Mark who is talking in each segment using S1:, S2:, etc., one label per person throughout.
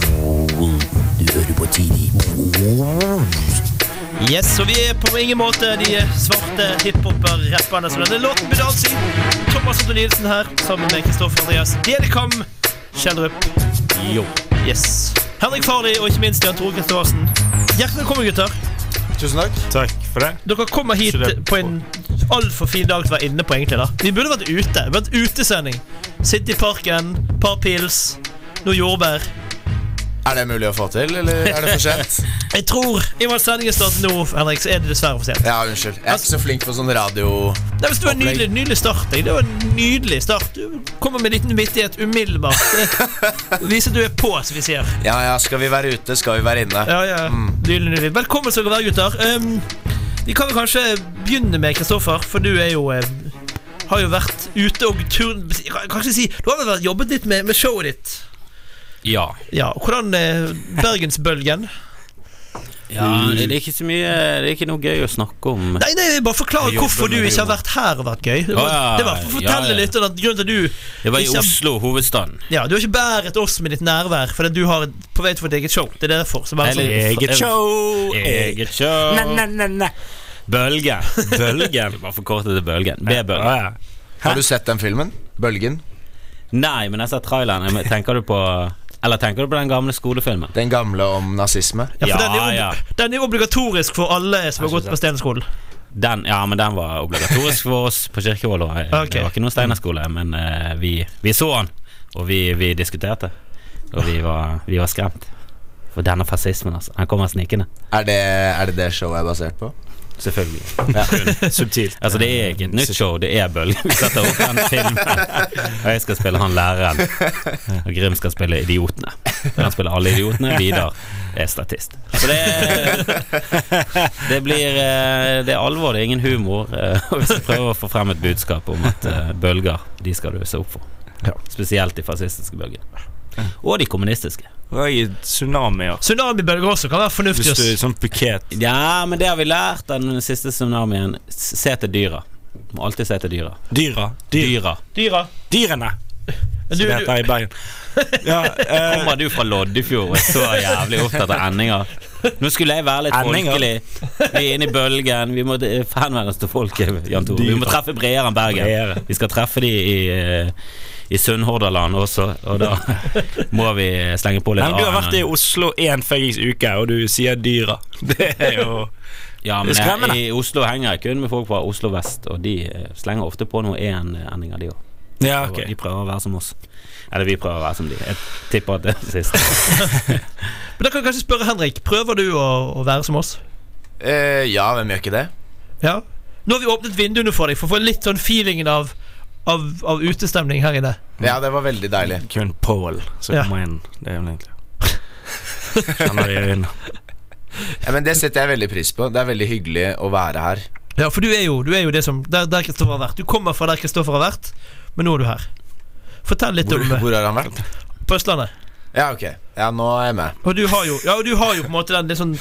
S1: Du hører på tidlig.
S2: Yes, og vi er på ingen måte de svarte hiphoper-rapperne som denne låten burde altså Thomas Otto Nielsen her, sammen med Kristoffer Andreas Delekam Kjeldrup.
S3: Jo.
S2: Yes. Henrik Farley og ikke minst Jan Tore Kristoffersen. Hjertelig velkommen, gutter.
S4: Tusen takk.
S3: Takk for det.
S2: Dere kommer hit
S3: Ikke det-
S2: på en altfor fin dag til å være inne på, egentlig. da Vi burde vært ute. Vi burde Vært utesending. Sitte i parken, par pils, noe jordbær.
S4: Er det mulig å få til, eller er det for sent?
S2: Jeg tror, i og med at sendingen starter nå, Henrik, så er det dessverre for sent.
S4: Ja, unnskyld. Jeg er ikke så flink på sånn radio...
S2: Nei, men Det var en nydelig, nydelig start. jeg. Det var en nydelig start Du kommer med en liten vittighet umiddelbart. Det viser at du er på, som vi sier.
S4: Ja, ja, skal vi være ute, skal vi være inne.
S2: Ja, ja, nydelig, nydelig Velkommen skal dere være, gutter. Ehm, vi kan vel kanskje begynne med Kristoffer, for du er jo eh, har jo vært ute og tur... Jeg kan ikke si Du har vel vært- jobbet litt med, med showet ditt?
S3: Ja.
S2: Ja, Hvordan eh, Bergensbølgen?
S3: ja
S1: det
S3: det er ikke så mye Det er ikke noe gøy å snakke om.
S2: Nei, nei, bare forklar
S3: Jeg jobber
S2: hvorfor du
S3: med det,
S2: ikke har vært her og vært gøy. Det var,
S3: Ja,
S2: det var for å fortelle
S3: ja, ja.
S2: litt om at grunnen til at du
S3: Det var i
S2: ikke har-
S3: Oslo, hovedstaden.
S2: Ja, du har ikke bæret oss med ditt nærvær fordi du har på vei til vårt eget show. Det er derfor. Så bare sånn.
S3: Eget show. Eget show. Bølge. Bølgen. Bare forkortet til Bølgen. Det er Bølgen.
S4: Har du sett den filmen? Bølgen?
S3: Nei, men jeg ser traileren. Jeg men- Tenker du på Eller tenker du på den gamle skolefilmen?
S4: Den gamle om nazisme?
S2: Ja, for
S3: Ja,
S2: den, er jo,
S3: ja.
S2: den er jo obligatorisk for alle som har gått på Stenskolen.
S3: Den, ja, men den var obligatorisk for oss på Kirkevold. og, eh,
S2: Ok.
S3: Det var ikke noen Steinerskole, men eh, vi, vi så den, og vi, vi diskuterte. Og vi var, vi var skremt. For denne fascismen, altså. Han kommer snikende.
S4: Er det, er det det showet er basert på?
S3: Selvfølgelig.
S4: Ja.
S3: Subtilt. Altså, det er ikke et nytt show, det er Bølge. Vi setter opp den filmen, og jeg skal spille han læreren. Og Grim skal spille idiotene. Han spiller alle idiotene. Vidar er statist. Så det Det blir eh, Det er alvor, det er ingen humor. eh, Og vi skal prøve å få frem et budskap om at eh, bølger, de skal du se opp for. Spesielt de fascistiske bølgene. Og de kommunistiske.
S5: Oi, tsunamier.
S2: Tsunamibølger også kan være fornuftig.
S5: Hvis du
S2: ass.
S5: sånn piket
S3: Ja, men det har vi lært av den siste tsunamien. Se til dyra. Må alltid se til dyra.
S5: Dyra. Dyr.
S3: Dyra.
S2: Dyra.
S5: Dyrene,
S2: Men
S5: som
S2: Du,
S5: det
S2: du,
S5: heter i Bergen. Ja, eh,
S3: Kommer du fra Loddefjord og er så jævlig opptatt av endinger? Nå skulle jeg være litt
S5: Endinger?
S3: folkelig. Vi er inne i bølgen. Vi må eh, henvende oss til folket, eh, Jan Tore. Vi må treffe bredere enn Bergen. Vi skal treffe de i, eh, i Sunnhordaland også, og da må vi slenge på litt
S5: men du har
S3: annen-
S5: vært i Oslo én fuckings uke, og du sier dyra. Det er jo
S3: Ja, men
S5: Skremmende.
S3: jeg, I Oslo henger jeg kun med folk fra Oslo vest, og de eh, slenger ofte på noe én-endinger, de òg.
S5: Ja,
S3: Og
S5: ok.
S3: De prøver å være som oss. Eller vi prøver å være som de. Jeg tipper at det er det siste.
S2: men da kan jeg kanskje spørre Henrik. Prøver du å, å være som oss?
S4: Eh, ja, hvem gjør ikke det?
S2: Ja? Nå har vi åpnet vinduene for deg for å få litt sånn feelingen av, av, av utestemning her inne.
S4: Ja, det var veldig deilig.
S5: Kun Paul som
S2: Ja.
S5: kommer inn. Det er vel egentlig Kjenner det i øynene.
S4: Ja, men Det setter jeg veldig pris på. Det er veldig hyggelig å være her.
S2: Ja, for du er jo, du er jo det som Der, der Kristoffer har vært. Du kommer fra der Kristoffer har vært, men nå er du her. Fortell litt
S4: Hvor,
S2: om eh,
S4: hvor har han vært?
S2: på Østlandet.
S4: Ja, ok. Ja, nå er jeg med.
S2: Og du har jo, ja, og du har jo på en måte den, litt sånn,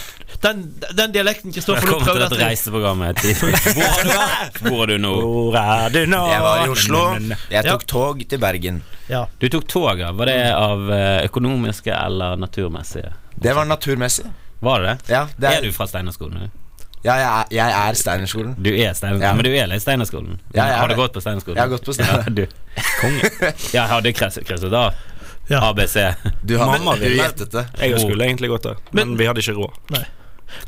S2: den, den dialekten Kristoffer nå
S3: Velkommen til
S2: prøvde
S3: dette reiseprogrammet. Hvor har du vært? Hvor er du nå?
S5: Hvor er du nå?
S4: Jeg
S2: Ah.
S4: var i Oslo. Jeg
S2: Ja.
S4: tok tog til Bergen.
S2: Ja.
S3: Du tok toget. Var det av eh, økonomiske eller naturmessige?
S4: Det var naturmessig.
S3: Var det det?
S4: Ja, det
S3: er...
S4: er,
S3: du fra Steinerskolen? du?
S4: ja jeg er, jeg er Steinerskolen.
S3: Du er Steinerskolen,
S4: Ja.
S3: men du er litt Steinerskolen?
S4: Ja, jeg er
S3: har du
S4: det.
S3: gått på Steinerskolen?
S4: Jeg har gått på Steiner-
S3: Ja, du. Konge. Ja, har du krysset krysset av?
S2: Ja.
S3: ABC.
S4: Du har
S5: Mamma
S4: du
S5: ville-
S4: gjettet det.
S5: Jeg skulle egentlig gått der, men
S2: Men-
S5: vi hadde ikke råd.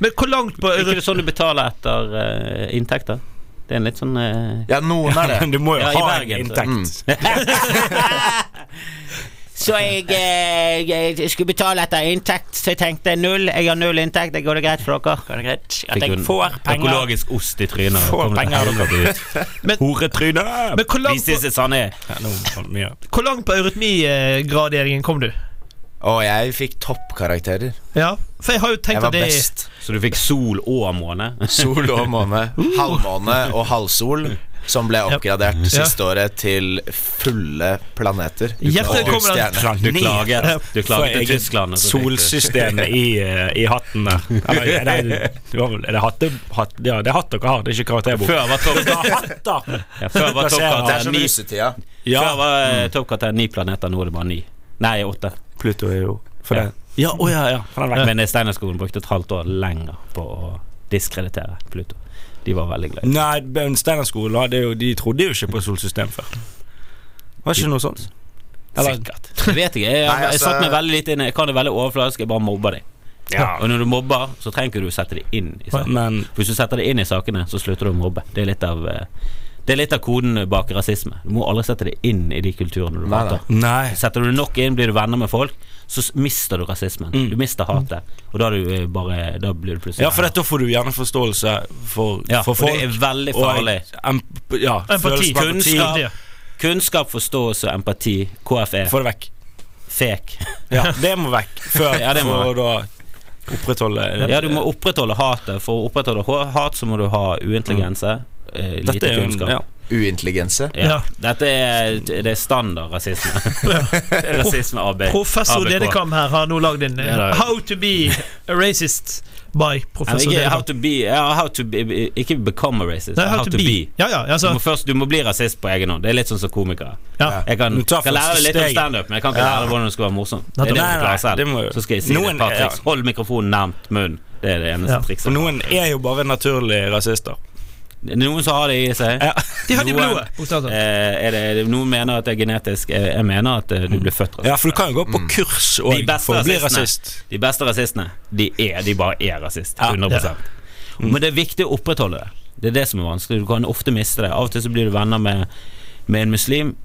S2: Men hvor langt på
S3: Er ikke det sånn du betaler etter eh, inntekter? Det er en litt sånn eh,
S4: Ja, noen er det.
S5: Men du må jo
S3: Ja, i
S5: ha en
S3: Bergen, så-
S5: inntekt.
S6: Så jeg, eh, jeg skulle betale etter inntekt, så jeg tenkte null. Jeg har null inntekt, det går det greit for dere? Går det greit? At
S3: Fikk jo
S6: jeg
S3: en
S6: får penger.
S3: Økologisk ost i trynet. og
S5: Få
S3: kommer til
S5: penger,
S3: helvete ut.
S5: Horetryne!
S2: Men hvor
S3: Vi
S2: langt
S3: synes
S2: på,
S3: det er sanne.
S5: Ja, nå var det mye.
S2: hvor langt på eurytmigraderingen kom du?
S4: Og jeg fikk toppkarakterer.
S2: Ja, for jeg har jo
S4: Jeg
S2: tenkt
S4: var
S2: at det
S4: best.
S3: Så du fikk sol og måne?
S4: Sol og måne.
S2: Uh.
S4: Halvmåne og halvsol. Som ble oppgradert siste året til fulle planeter.
S2: Hjertelig
S4: Og
S2: velkommen.
S4: stjerner.
S3: Du klaget, du klaget til
S5: eget
S3: Tyskland. altså, og så fikk du-
S5: Solsystem i, eh, i hatten der. Eller, er det, det var vel- er det hatte, hatt, ja, det er hatt dere har, det er ikke karakterbok.
S3: Før var topp
S5: Dere har hatter!
S3: ja, Før var
S5: Plasserer
S3: toppkarakter
S4: Det er som
S3: ni,
S4: russetida.
S3: før var, eh, toppkarakter ni planeter, nå er det bare ni. Nei, åtte.
S5: Pluto er jo For
S3: Ja.
S5: den
S3: Ja, å ja, ja.
S5: for den er vekk.
S3: Men Steinerskolen brukte et halvt år lenger på å diskreditere Pluto. De var veldig glad. i det.
S5: Nei, men Steinerskolen hadde jo De trodde jo ikke på solsystem før. Var ikke noe sånt? Eller-
S3: Sikkert. Jeg vet ikke. Jeg, jeg,
S4: Nei, altså-
S3: jeg satt meg veldig lite inn i Jeg kan det veldig overfladisk. Jeg bare mobber deg.
S5: Ja.
S3: Og når du mobber, så trenger ikke du sette det inn i saken.
S5: Men
S3: Hvis du setter det inn i sakene, så slutter du å mobbe. Det er litt av eh, Det er litt av koden bak rasisme. Du må aldri sette det inn i de kulturene du
S4: Nei,
S3: hater.
S5: Nei.
S3: Setter du det nok inn, blir du venner med folk, så s- mister du rasismen. Du mister hatet. Og da, er du eh, bare, da blir du plutselig
S5: Mm. Ja, for dette, da får du gjerne forståelse for,
S3: Ja,
S5: for
S3: og
S5: folk.
S3: det er veldig farlig.
S5: Og, em- ja,
S2: Empati.
S5: følelsen av empati.
S3: Kunnskap. Kunnskap, forståelse og empati. KFE.
S5: Få det vekk.
S3: Fek.
S5: Ja, det må vekk. Før
S3: Ja, det må
S5: for å da opprettholde
S3: Ja, du må opprettholde hatet. For å opprettholde ha- hat så må du ha uintelligense. Eh,
S5: Mm. Dette
S3: lite
S5: er jo en-
S3: kunnskap.
S5: ja.
S4: Uintelligense.
S3: Ja.
S2: Ja.
S3: Dette er, det er standard rasisme. Det er rasisme AB.
S2: Professor
S3: ABK.
S2: Dedekam her har nå lagd en eh,
S3: Ja, da.
S2: How to be a racist by
S3: Nei,
S2: professor
S3: Ikke how
S2: Dedekam.
S3: to be, ja, how to be Ikke become a racist,
S2: Nei, how to be. Ja, ja,
S3: Du
S2: altså
S3: må, først, du må bli rasist på egen hånd. Det er litt sånn som komikere.
S2: ja.
S3: Jeg kan,
S5: Du tar
S3: kan lære
S5: første
S3: litt om
S5: steget.
S3: standup, men jeg kan ikke lære hvordan det skal være morsom. Det
S2: Nei,
S3: er det
S5: nei,
S3: du klarer
S5: nei, det
S3: selv.
S5: må jo-
S3: Så skal jeg si
S5: Noen-
S3: det, Patrick.
S5: ja.
S3: Hold mikrofonen nærmt munnen. Det er det eneste
S2: Ja.
S5: For
S3: trikset.
S5: noen er jo bare naturlige rasister.
S3: Det er Noen som har det i seg.
S5: Ja.
S2: De har det i
S3: Noen-
S2: blodet, bokstavelig talt.
S3: Eh, er det, er det, noen mener at det er genetisk. Eh, Jeg mener at eh, du blir født rasist.
S5: Ja, for du kan jo gå på kurs og
S3: De beste
S5: for å bli
S3: rasistene.
S5: rasist.
S3: De beste rasistene, de er De bare er rasist.
S5: Ja.
S3: 100 Men det er viktig å opprettholde det. Det er det som er vanskelig. Du kan ofte miste det. Av og til så blir du venner med, med en muslim.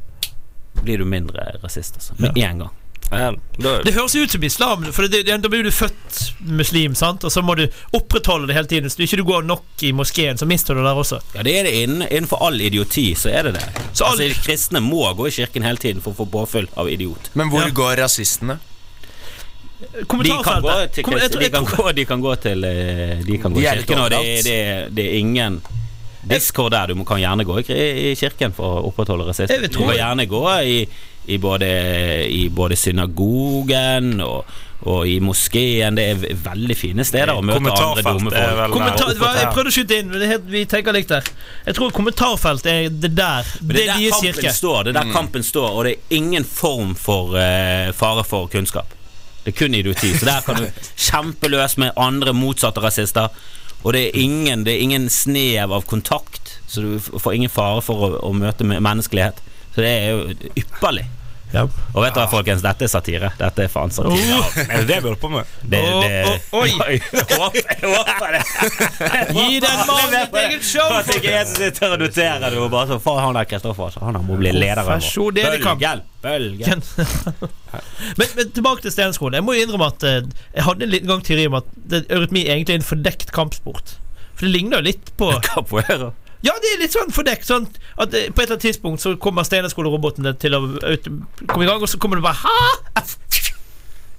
S3: Blir du mindre rasist, altså. Med én gang.
S5: Ja, da,
S2: Det høres ut som islam, for det, det, da blir du født muslim, sant? og så må du opprettholde det hele tiden. Hvis du ikke du går nok i moskeen, så mister du det der også.
S3: Ja, det er det innen, innenfor all idioti, så er det det.
S2: Så all-
S3: altså, de kristne må gå i kirken hele tiden for å få påfyll av idiot.
S4: Men hvor
S2: Ja.
S4: går rasistene?
S3: De kan gå til,
S2: Kom- jeg
S3: kristne,
S2: tror-
S3: de
S2: jeg
S3: kan
S2: tror-
S3: gå, de kan gå til eh, De kan gå
S4: De
S3: i
S4: er litt
S3: kirken, og det,
S4: overalt.
S3: er- det, er- det er ingen Discord der. Du må- kan gjerne gå i, kri- i kirken for å opprettholde
S2: Jeg
S3: rasisme.
S2: vil
S3: Du
S2: tro
S3: kan
S2: det.
S3: gjerne gå i, i, både, i både synagogen og, og i moskeen. Det er veldig fine steder å møte andre dumme
S5: Kommentarfelt er
S3: folk.
S5: vel
S2: Kommentar,
S5: oppe
S2: hva, jeg
S5: der.
S2: prøvde å skyte inn, men det er helt, vi tenker likt der. Jeg tror kommentarfelt er det der. Det
S3: Men det
S2: er Mm.
S3: er der
S2: deres
S3: kampen
S2: kirke.
S3: står, det er der kampen står og det er ingen form for eh, fare for kunnskap. Det er kun idioti. Så der kan du kjempe løs med andre motsatte rasister. Og det er ingen, det er ingen snev av kontakt, så du f- får ingen fare for å, å møte med menneskelighet. Så det er jo ypperlig.
S2: Ja. Oh.
S3: Og vet du hva, folkens, dette er satire. Dette er faen satire.
S5: er det det vi holder på med?
S3: Det, det,
S2: Å, å, oi.
S3: Jeg håper jeg håper det.
S2: Gi den mannen et eget show!
S3: At ikke jeg som sitter og noterer det og bare sånn Faen, han der Kristoffer, altså. Han der må bli leder av oss.
S2: Professor Dedekamp.
S3: Bølgen! Bølgen.
S2: men, men tilbake til Stenskolen. Jeg må jo innrømme at eh, jeg hadde en liten gang teori om at det, eurytmi egentlig er en fordekt kampsport. For det ligner jo litt på
S3: Capoeira.
S2: Ja, det er litt sånn fordekt. Sånn at eh, på et eller annet tidspunkt så kommer Steinerskole-roboten til å ut- komme i gang, og så kommer det bare Hæ?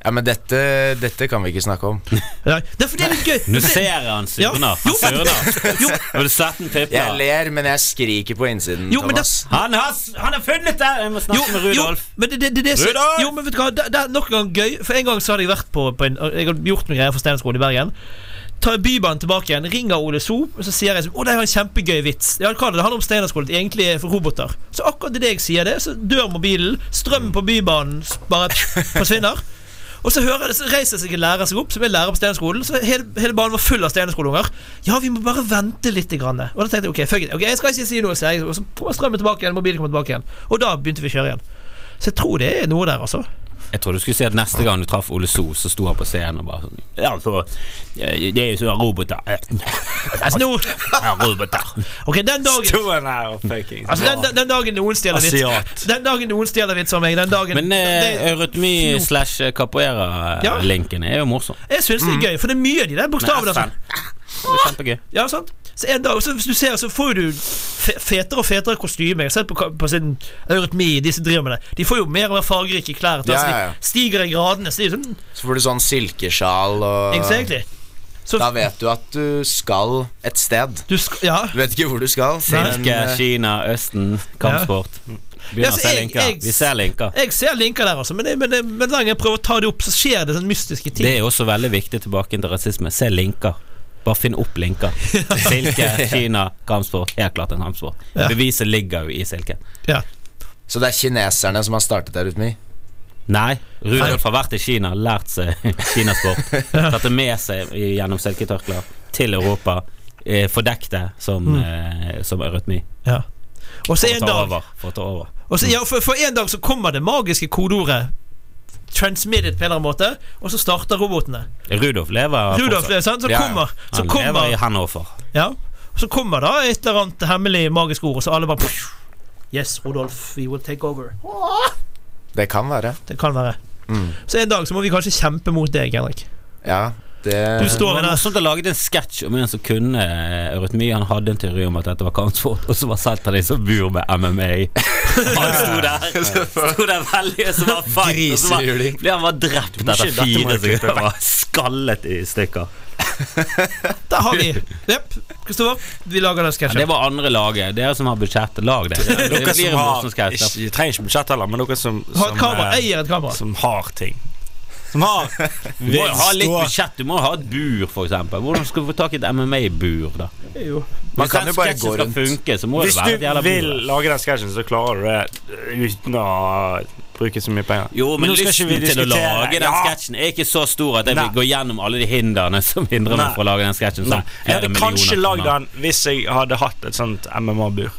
S4: Ja, men dette, dette kan vi ikke snakke om.
S2: Nei, Det er fordi det er litt gøy.
S3: Nå ser jeg han
S2: Ja.
S3: surner. Han
S2: Jo, men-
S3: surner. Har du sett den
S4: Jeg
S3: pipla?
S4: ler, men jeg skriker på innsiden.
S2: Jo, men det-
S4: Thomas.
S3: Han har, s- han har funnet det! Jeg må snakke med Rudolf.
S2: Jo, men det, det, det, det,
S3: Rudolf!
S2: jo, men vet du hva, det, det er nok en gang gøy. For en gang så hadde jeg vært på, på en, Jeg hadde gjort noen greier for Steinerskolen i Bergen. Tar jeg Bybanen tilbake igjen, ringer Ole So, og så sier jeg sånn Å, det var en kjempegøy vits. Ja, hva er det? Det handler om Steinerskolen, det er egentlig for roboter. Så akkurat idet jeg sier det, så dør mobilen, strømmen på Bybanen s- bare forsvinner. Og så, hører, jeg det, så reiser seg en lærer seg opp, som er lærer på Steinerskolen. Så hele, hele banen var full av Steinerskoleungere. Ja, vi må bare vente litt. Grann. Og da tenkte jeg ok, fuck it. Ok, jeg skal ikke si noe. sier jeg. Og så på strømmen tilbake igjen, mobilen kommer tilbake igjen. Og da begynte vi å kjøre igjen. Så jeg tror det er noe der, altså.
S3: Jeg tror du skulle si at neste gang du traff Ole So, så sto han på scenen og bare sånn Ja, så eh, Det er jo sånn roboter.
S2: Altså, nå,
S3: Ja, roboter.
S2: ok, den dagen
S5: Toen er jo fucking
S2: Altså, den, den, den dagen noen stjeler vits
S5: Asiat.
S2: Den dagen noen stjeler vits av meg, den dagen
S3: Men eh,
S2: det,
S3: eurytmi slash eh,
S2: Ja.
S3: capoeira-linken eh, er jo morsom.
S2: Jeg syns det er gøy, for det er mye av de der bokstavene. altså.
S3: F-en. Det er kjempegøy.
S2: Ja, sant? Så en dag, så hvis du ser, så får jo du fe- fetere og fetere kostymer. Jeg har sett på, ka- på sin eurytmi, de som driver med det. De får jo mer og mer fargerike klær. til
S4: Ja,
S2: altså, de
S4: ja, ja.
S2: Stiger i gradene. Så de er sånn,
S4: Så får du sånn silkesjal og
S2: exactly. Så
S4: Da vet du at du skal et sted.
S2: du skal Ja.
S4: Du vet ikke hvor du skal. men,
S3: Norge,
S4: eh,
S3: Kina, Østen, kampsport.
S2: Ja, så
S3: Begynner å se
S2: jeg-
S3: linker.
S2: jeg-
S3: Vi ser linker.
S2: Jeg ser linker der, altså, men, det, men, det, men hver gang jeg prøver å ta det opp, så skjer det sånne mystiske ting.
S3: Det er også veldig viktig tilbake til rasisme. Se linker. Bare finn opp linker. Silke, Kina, kampsport. Helt klart en kampsport.
S2: Ja.
S3: Beviset ligger jo i silken.
S2: Ja.
S4: Så det er kineserne som har startet eurytmi?
S3: Nei, Rudolf har vært i Kina, lært seg kinasport. Tatt det med seg i- gjennom silketørklær til Europa. eh, Fordekt det som, eh, som eurytmi.
S2: Ja. Og så
S3: For å
S2: Mm. en
S3: ta
S2: dag
S3: over. For å ta over.
S2: Og så, ja, for, for en dag så kommer det magiske kodeordet transmitted på en eller annen måte, og så starter robotene.
S3: Rudolf lever
S2: Rudolf,
S3: fortsatt.
S2: sant? Så
S4: Ja, ja.
S2: kommer, så
S3: Han lever i
S2: kommer,
S3: Hannover.
S2: ja, så kommer da et eller annet hemmelig magisk ord, og så alle bare Yes, Rudolf, we will take over.
S4: Det kan være.
S2: Det kan være.
S4: Mm.
S2: Så en dag så må vi kanskje kjempe mot deg, Henrik.
S4: Ja,
S2: Du
S4: det
S3: Det
S2: står
S3: var
S2: i der.
S3: morsomt å lage en sketsj om en som kunne eh, eurytmi. Han hadde en teori om at dette var kampsport, og så var Seltan en som bur med MMA. Han sto der eh, Sto der veldig og så var fight, og så var-
S4: Grisehjuling.
S3: ble han var drept etter
S5: dette må
S3: fire
S5: jeg klippe
S3: sekunder. Han var Skallet i stykker.
S2: Der har vi. Jepp. Kristoffer, vi lager den
S3: Ja, det
S2: sketsjen.
S3: var andre laget. Dere som har budsjett, lag det. Det
S5: Dere
S3: blir
S5: som
S3: en
S5: har
S3: morsom sketsj.
S5: ikke, jeg trenger ikke budsjett heller, men dere som,
S2: Har et
S5: som,
S2: kamera.
S5: eh,
S2: Eier et kamera.
S5: som har ting. Som har
S3: Du må jo ha litt
S5: Står-
S3: budsjett. Du må jo ha et bur, for eksempel. Hvordan skal du få tak i et MMA-bur, da?
S2: Jo.
S4: Man
S3: Hvis
S4: kan
S3: den
S4: jo bare
S3: sketsjen
S4: gå
S3: skal
S4: rundt.
S3: Funke, så må
S5: Hvis
S3: det være et jævla
S5: du vil
S3: bur.
S5: lage den sketsjen, så klarer du det øh, uten å bruke så mye penger.
S3: Jo, men
S5: nå skal
S3: lysten
S5: ikke vi
S3: til å
S5: diskutere-
S3: lage den
S5: Ja.
S3: sketsjen er ikke så stor at jeg vil
S5: Nei.
S3: gå gjennom alle de hindrene som hindrer meg
S5: Nei.
S3: fra å lage den sketsjen.
S5: Nei,
S3: som
S5: Jeg
S3: flere
S5: hadde
S3: Sånn, millioner
S5: kanskje lagd
S3: kroner.
S5: den hvis jeg hadde hatt et sånt MMA-bur.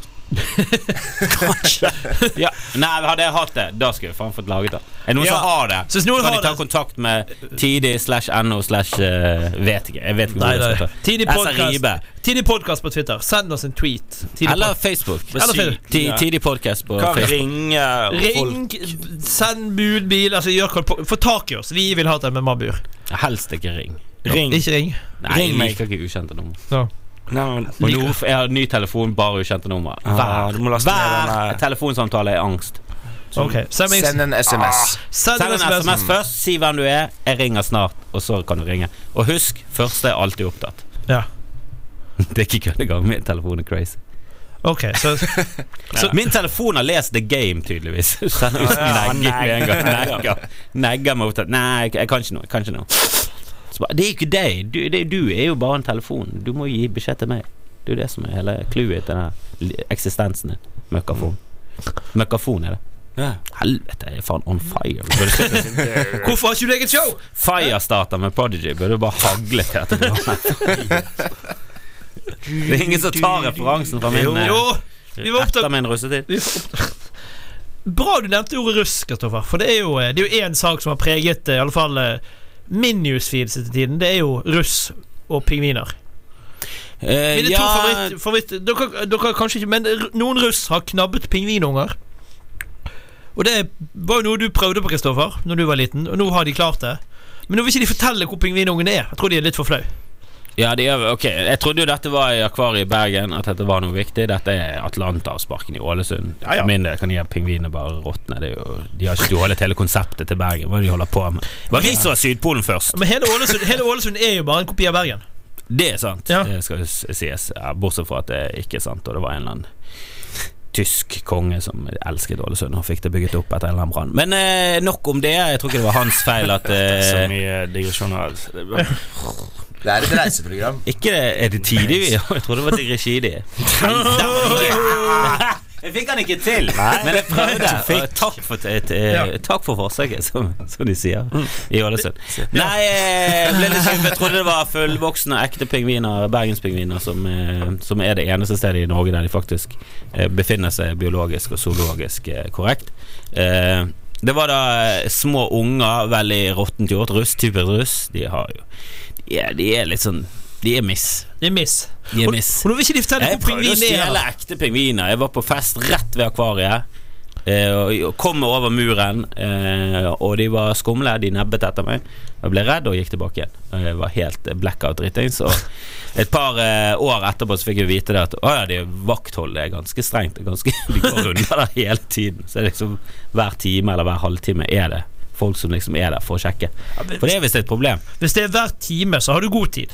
S5: kanskje.
S3: Ja. Nei, hadde jeg hatt det, da skulle jeg faen fått laget den. Er det noen
S5: Ja.
S3: som har det?
S2: Så hvis noen
S3: kan
S2: har
S3: de ta
S2: det-
S3: kontakt med tidig slash no slash eh, vet ikke. Jeg vet ikke hvor
S2: Nei,
S3: det
S2: nei.
S3: skal ta.
S2: Tidlig podcast-
S3: SRIB.
S2: Tidlig podkast på Twitter. Send oss en tweet. Tidlig
S3: Eller
S2: podcast.
S3: Facebook.
S2: Eller Facebook.
S3: Ti- Tidig podcast på
S5: Kan
S3: Facebook.
S5: ringe folk.
S2: Ring, send budbil, altså gjør hva på- Få tak i oss. Vi vil ha et MMA-bur.
S3: Helst ikke ring.
S5: Ring.
S2: Ikke ring.
S3: Nei,
S5: Ring
S3: jeg
S5: meg.
S3: liker ikke ukjente nummer.
S5: Nei, men,
S3: Og nå f- jeg har ny telefon, bare ukjente nummer.
S5: Ah,
S3: Hver,
S5: du må laste ned
S3: hver
S5: den, eh.
S3: telefonsamtale er angst.
S2: Ok, Send meg
S4: Send en SMS.
S2: Send
S3: Send
S2: en
S3: en
S2: SMS.
S5: sånn.
S3: SMS først, si hvem du er, jeg ringer snart, og så kan du ringe. Og husk, første er alltid opptatt.
S2: Ja.
S3: Det er ikke køddegang, min telefon er crazy.
S2: Ok, så
S3: Så, min telefon har lest The Game, tydeligvis. Send ut
S5: Ja,
S3: negger med en gang.
S5: negger.
S3: Negger. Negger meg opptatt. Nei, jeg kan ikke noe. Jeg kan ikke noe. Så bare, det er jo ikke deg. Du, det, du er jo bare en telefon. Du må gi beskjed til meg. Det er jo det som er hele clouet til den her eksistensen din. Møkkafon.
S5: Mm.
S3: Møkkafon er det.
S5: Ja.
S3: Helvete, jeg er faen on fire. Burde slutte å si
S2: Hvorfor har ikke du eget show?
S3: Firestarter med Prodigy burde bare hagle til dette programmet. Det er ingen som tar referansen fra min
S2: Jo,
S3: eh,
S2: vi var opptatt
S3: etter min russetid.
S2: Bra du nevnte ordet russ, Kristoffer. For det er jo eh, Det er jo én sak som har preget eh, i alle fall eh, min newsfeed siste tiden. Det er jo russ og pingviner.
S3: Eh,
S2: Mine to favoritt, favoritt dere, dere har kanskje ikke Men r- noen russ har knabbet pingvinunger. Og det var jo noe du prøvde på, Kristoffer, Når du var liten. Og nå har de klart det. Men nå vil ikke de fortelle hvor pingvinungen er. Jeg tror de er litt for flau.
S3: ja, de gjør ok. Jeg trodde jo dette var i Akvariet i Bergen, at dette var noe viktig. Dette er Atlanterhavsparken i Ålesund. For min del kan de her pingvinene bare råtne. Det er jo, de har stjålet hele konseptet til Bergen. Hva er det de holder på med? Det var vi som var Sydpolen først.
S2: Men hele Ålesund, hele Ålesund er jo bare en kopi av Bergen.
S3: Det er sant,
S2: Ja.
S3: det skal jo s- sies. Ja, bortsett fra at det er ikke er sant, og det var en eller annen tysk konge som elsket Ålesund og fikk det bygget opp etter en eller annen brann. Men eh, nok om det. Jeg tror ikke det var hans feil at
S5: Så
S3: eh,
S5: mye digresjoner. Det er bra.
S4: Det er et reiseprogram.
S3: Ikke det, Er det tidig vi Jeg trodde det var Tigrishidi. Jeg fikk han ikke til, men jeg prøvde. Og takk for, et, eh,
S2: Ja.
S3: takk for forsøket, som, som de sier i Ålesund. Nei, eh, jeg ble litt skuffet. Jeg trodde det var fullvoksne, ekte pingviner, bergenspingviner, som, eh, som er det eneste stedet i Norge der de faktisk eh, befinner seg biologisk og zoologisk eh, korrekt. Eh, Det var da eh, små unger, veldig råttent gjort, russ, typisk russ. De har jo De er, de er litt sånn De er miss.
S2: Det er miss.
S3: De er
S2: Og,
S3: miss.
S2: og nå vil ikke de fortelle
S3: Jeg
S2: hvor
S3: prøvde å
S2: pingvinen er.
S3: stjele ekte pingviner. Jeg var på fest rett ved akvariet. eh, og- og kom meg over muren, eh, og de var skumle. De nebbet etter meg. Jeg ble redd og gikk tilbake igjen. Og Jeg var helt eh, blackout dritings. Og et par eh, år etterpå så fikk jeg vite det at å ja, det vaktholdet er ganske strengt. Det er ganske, de går runder der hele tiden. Så det er liksom hver time eller hver halvtime er det folk som liksom er der for å sjekke. For det er visst et problem.
S2: Hvis det er hver time, så har du god tid.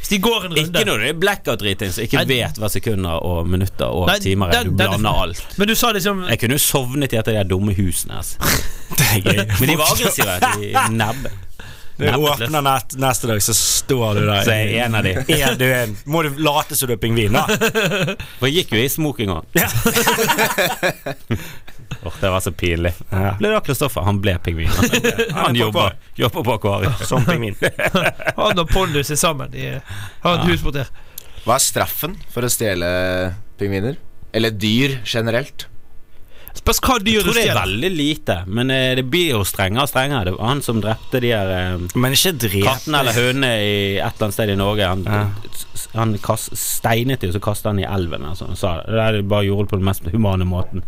S2: Hvis de går en runde
S3: Ikke når du er blackout-driting, så ikke
S2: Nei.
S3: vet hva sekunder og minutter og
S2: Nei,
S3: timer er.
S2: den-
S3: Du
S2: den er-
S3: blander alt.
S2: Men du sa liksom
S3: Jeg kunne jo sovnet i et av de dumme husene hans. Men de var aggressive. De nebbet.
S5: Du
S3: Nebbet løs.
S5: åpner nett, neste dag, så står du der.
S3: Så jeg er en av de.
S5: Er du en? Må du late som du er pingvin, da?
S3: For jeg gikk jo i smoking òg. Åh, det var så pinlig. Ble det da Kristoffer? Han ble pingvin. Han, han
S5: på
S3: jobber, jobber på akvariet.
S5: Som pingvin.
S2: Han og Pondus er sammen. De har et hus borti her.
S4: Hva er straffen for å stjele pingviner? Eller dyr generelt?
S2: Spørs hva dyr
S3: Jeg
S2: du
S3: tror det er
S2: stjeler.
S3: veldig lite, men eh, det blir jo strengere og strengere. Det var han som drepte de her eh,
S5: Men ikke drep.
S3: kattene eller hønene i et eller annet sted i Norge. Han,
S5: Ja.
S3: s- han kast, steinet de, og så kastet han i elven. Altså. Han sa, det der er bare gjorde det på den mest humane måten.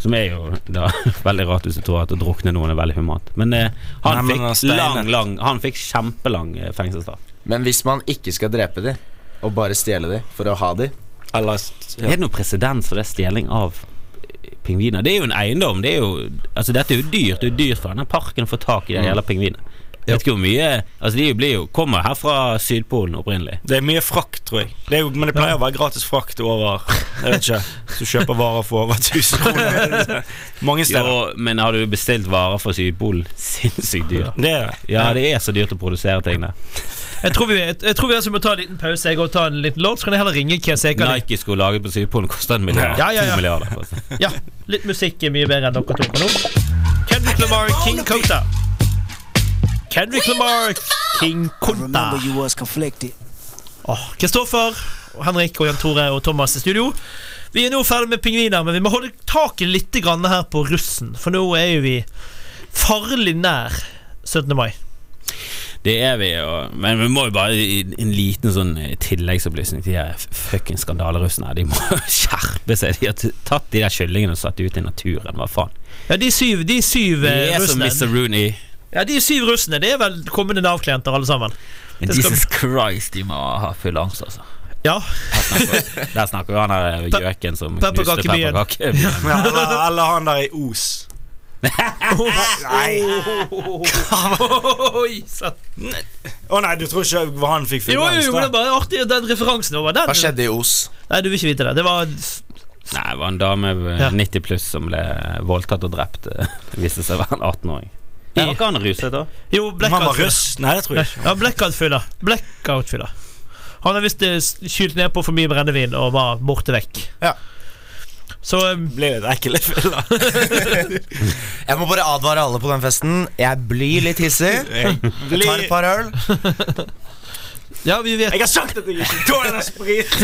S3: Som er jo da, veldig rart hvis du tror at å drukne noen er veldig humant. Men eh, han
S5: Nei, men han
S3: fikk
S5: steinet.
S3: lang, lang Han fikk kjempelang eh, fengselsstraff.
S4: Men hvis man ikke skal drepe de, og bare stjele de for å ha de
S5: Ellers
S3: Er det noe presedens for det stjeling av eh, pingviner? Det er jo en eiendom. Det er jo, altså dette er jo dyrt. Det er jo dyrt for denne parken å få tak i
S5: Mm.
S3: de jævla pingvinene. Jeg Vet ikke hvor mye Altså De blir jo kommer her fra Sydpolen opprinnelig.
S5: Det er mye frakt, tror jeg. Det er jo, men det pleier å være gratis frakt over Jeg vet ikke. Hvis du kjøper varer for over 1000 kroner. Mange steder.
S3: Jo, men har du bestilt varer fra Sydpolen? Sinnssykt dyrt.
S5: Det er det.
S3: Ja, det er så dyrt å produsere ting der.
S2: Jeg tror vi, jeg, jeg tror vi altså må ta en liten pause. Jeg går og tar en liten låt, så kan jeg heller ringe Ken Sekali.
S3: Nike skulle laget på Sydpolen koster en milliard.
S2: Ja, ja, ja.
S3: To milliarder. koster.
S2: Ja, litt musikk er mye bedre enn dere to på nå. Kendrick Lamar, King Kota. Kendrick Lamar, King Kota.
S1: Remember you was conflicted.
S2: Åh, Kristoffer, og Henrik og Jan Tore og Thomas i studio. Vi er nå ferdig med pingviner, men vi må holde taket litt grann her på russen. For nå er jo vi farlig nær 17. mai.
S3: Det er vi, og, men vi må jo bare i- en liten sånn eh, tilleggsopplysning til de her f- fucking skandalerussene. her. De må skjerpe seg. De har t- tatt de der kyllingene og satt de ut i naturen. Hva faen?
S2: Ja, de syv, de syv
S3: De
S2: eh,
S3: er som
S2: russene.
S3: Mr. Rooney.
S2: Ja, de syv russene, det er vel kommende Nav-klienter alle sammen.
S3: Men
S2: Det skal
S3: Jesus Christ, de må ha full angst, altså.
S2: Ja,
S3: Der snakker vi han her eh, gjøken som knuste
S2: pepperkakebyen.
S3: pepperkakebyen.
S5: Ja, eller, eller han der i Os. Nei.
S2: Oi sann.
S5: Å nei, du tror ikke hva han fikk
S2: Jo, jo,
S5: finans,
S2: jo,
S5: da?
S2: det er bare artig den referansen over den.
S4: Hva skjedde i Os?
S2: Nei, du vil ikke vite det. Det var
S3: Nei, det var en dame eh,
S2: Ja.
S3: 90 pluss som ble voldtatt og drept. eh, Det viste seg å være en 18-åring.
S2: Ja.
S3: Var ikke han ruset da?
S2: Jo,
S5: Men Han var
S2: blackout-fylla.
S5: russ? Nei, det tror jeg ikke.
S2: Ja, blackout-fylla. Blackout-fylla. Han har visst eh, kylt ned på for mye brennevin og var borte vekk.
S4: Ja.
S2: Så um,
S5: Ble litt ekkel i fylla.
S4: Jeg må bare advare alle på den festen. Jeg blir litt hissig.
S5: Jeg
S4: Jeg tar et par øl.
S2: Ja, vi vet
S5: Jeg har sagt at jeg ikke tåler sprit!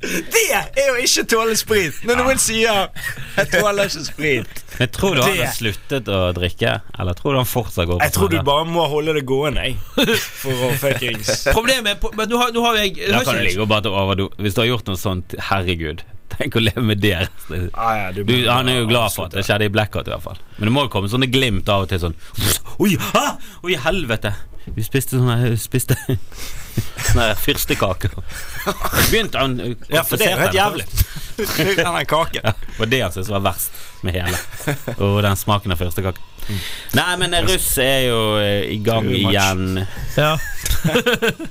S5: Det er jo ikke tåle sprit! Når noen sier 'jeg tåler ikke sprit'
S3: Men tror du han
S5: Det-
S3: har sluttet å drikke, eller tror du han fortsatt går på
S5: Jeg tror du
S3: sånn der?
S5: bare må holde det gående, jeg. For å fuckings
S2: Problemet er på- Men nå har, nå har jeg jeg
S3: Da
S2: har
S3: kan du
S2: ikke-
S3: ligge og bare ta overdo. Hvis du har gjort noe sånt, herregud. Tenk å leve med det. resten.
S5: ah, ja,
S3: Du, han er jo glad for at det skjedde i blackout, i hvert fall. Men det må jo komme sånne glimt av og til, sånn Oi, hæ? Oi, helvete! Vi spiste sånne vi spiste sånne fyrstekaker. Begynte han
S5: Ja, for det er jo helt jævlig. Den der kaken.
S3: Det var det han syntes var verst med hele. Og den smaken av fyrstekake. Nei, men eh, russ er jo eh, i gang
S5: Too much.
S3: igjen.
S2: ja.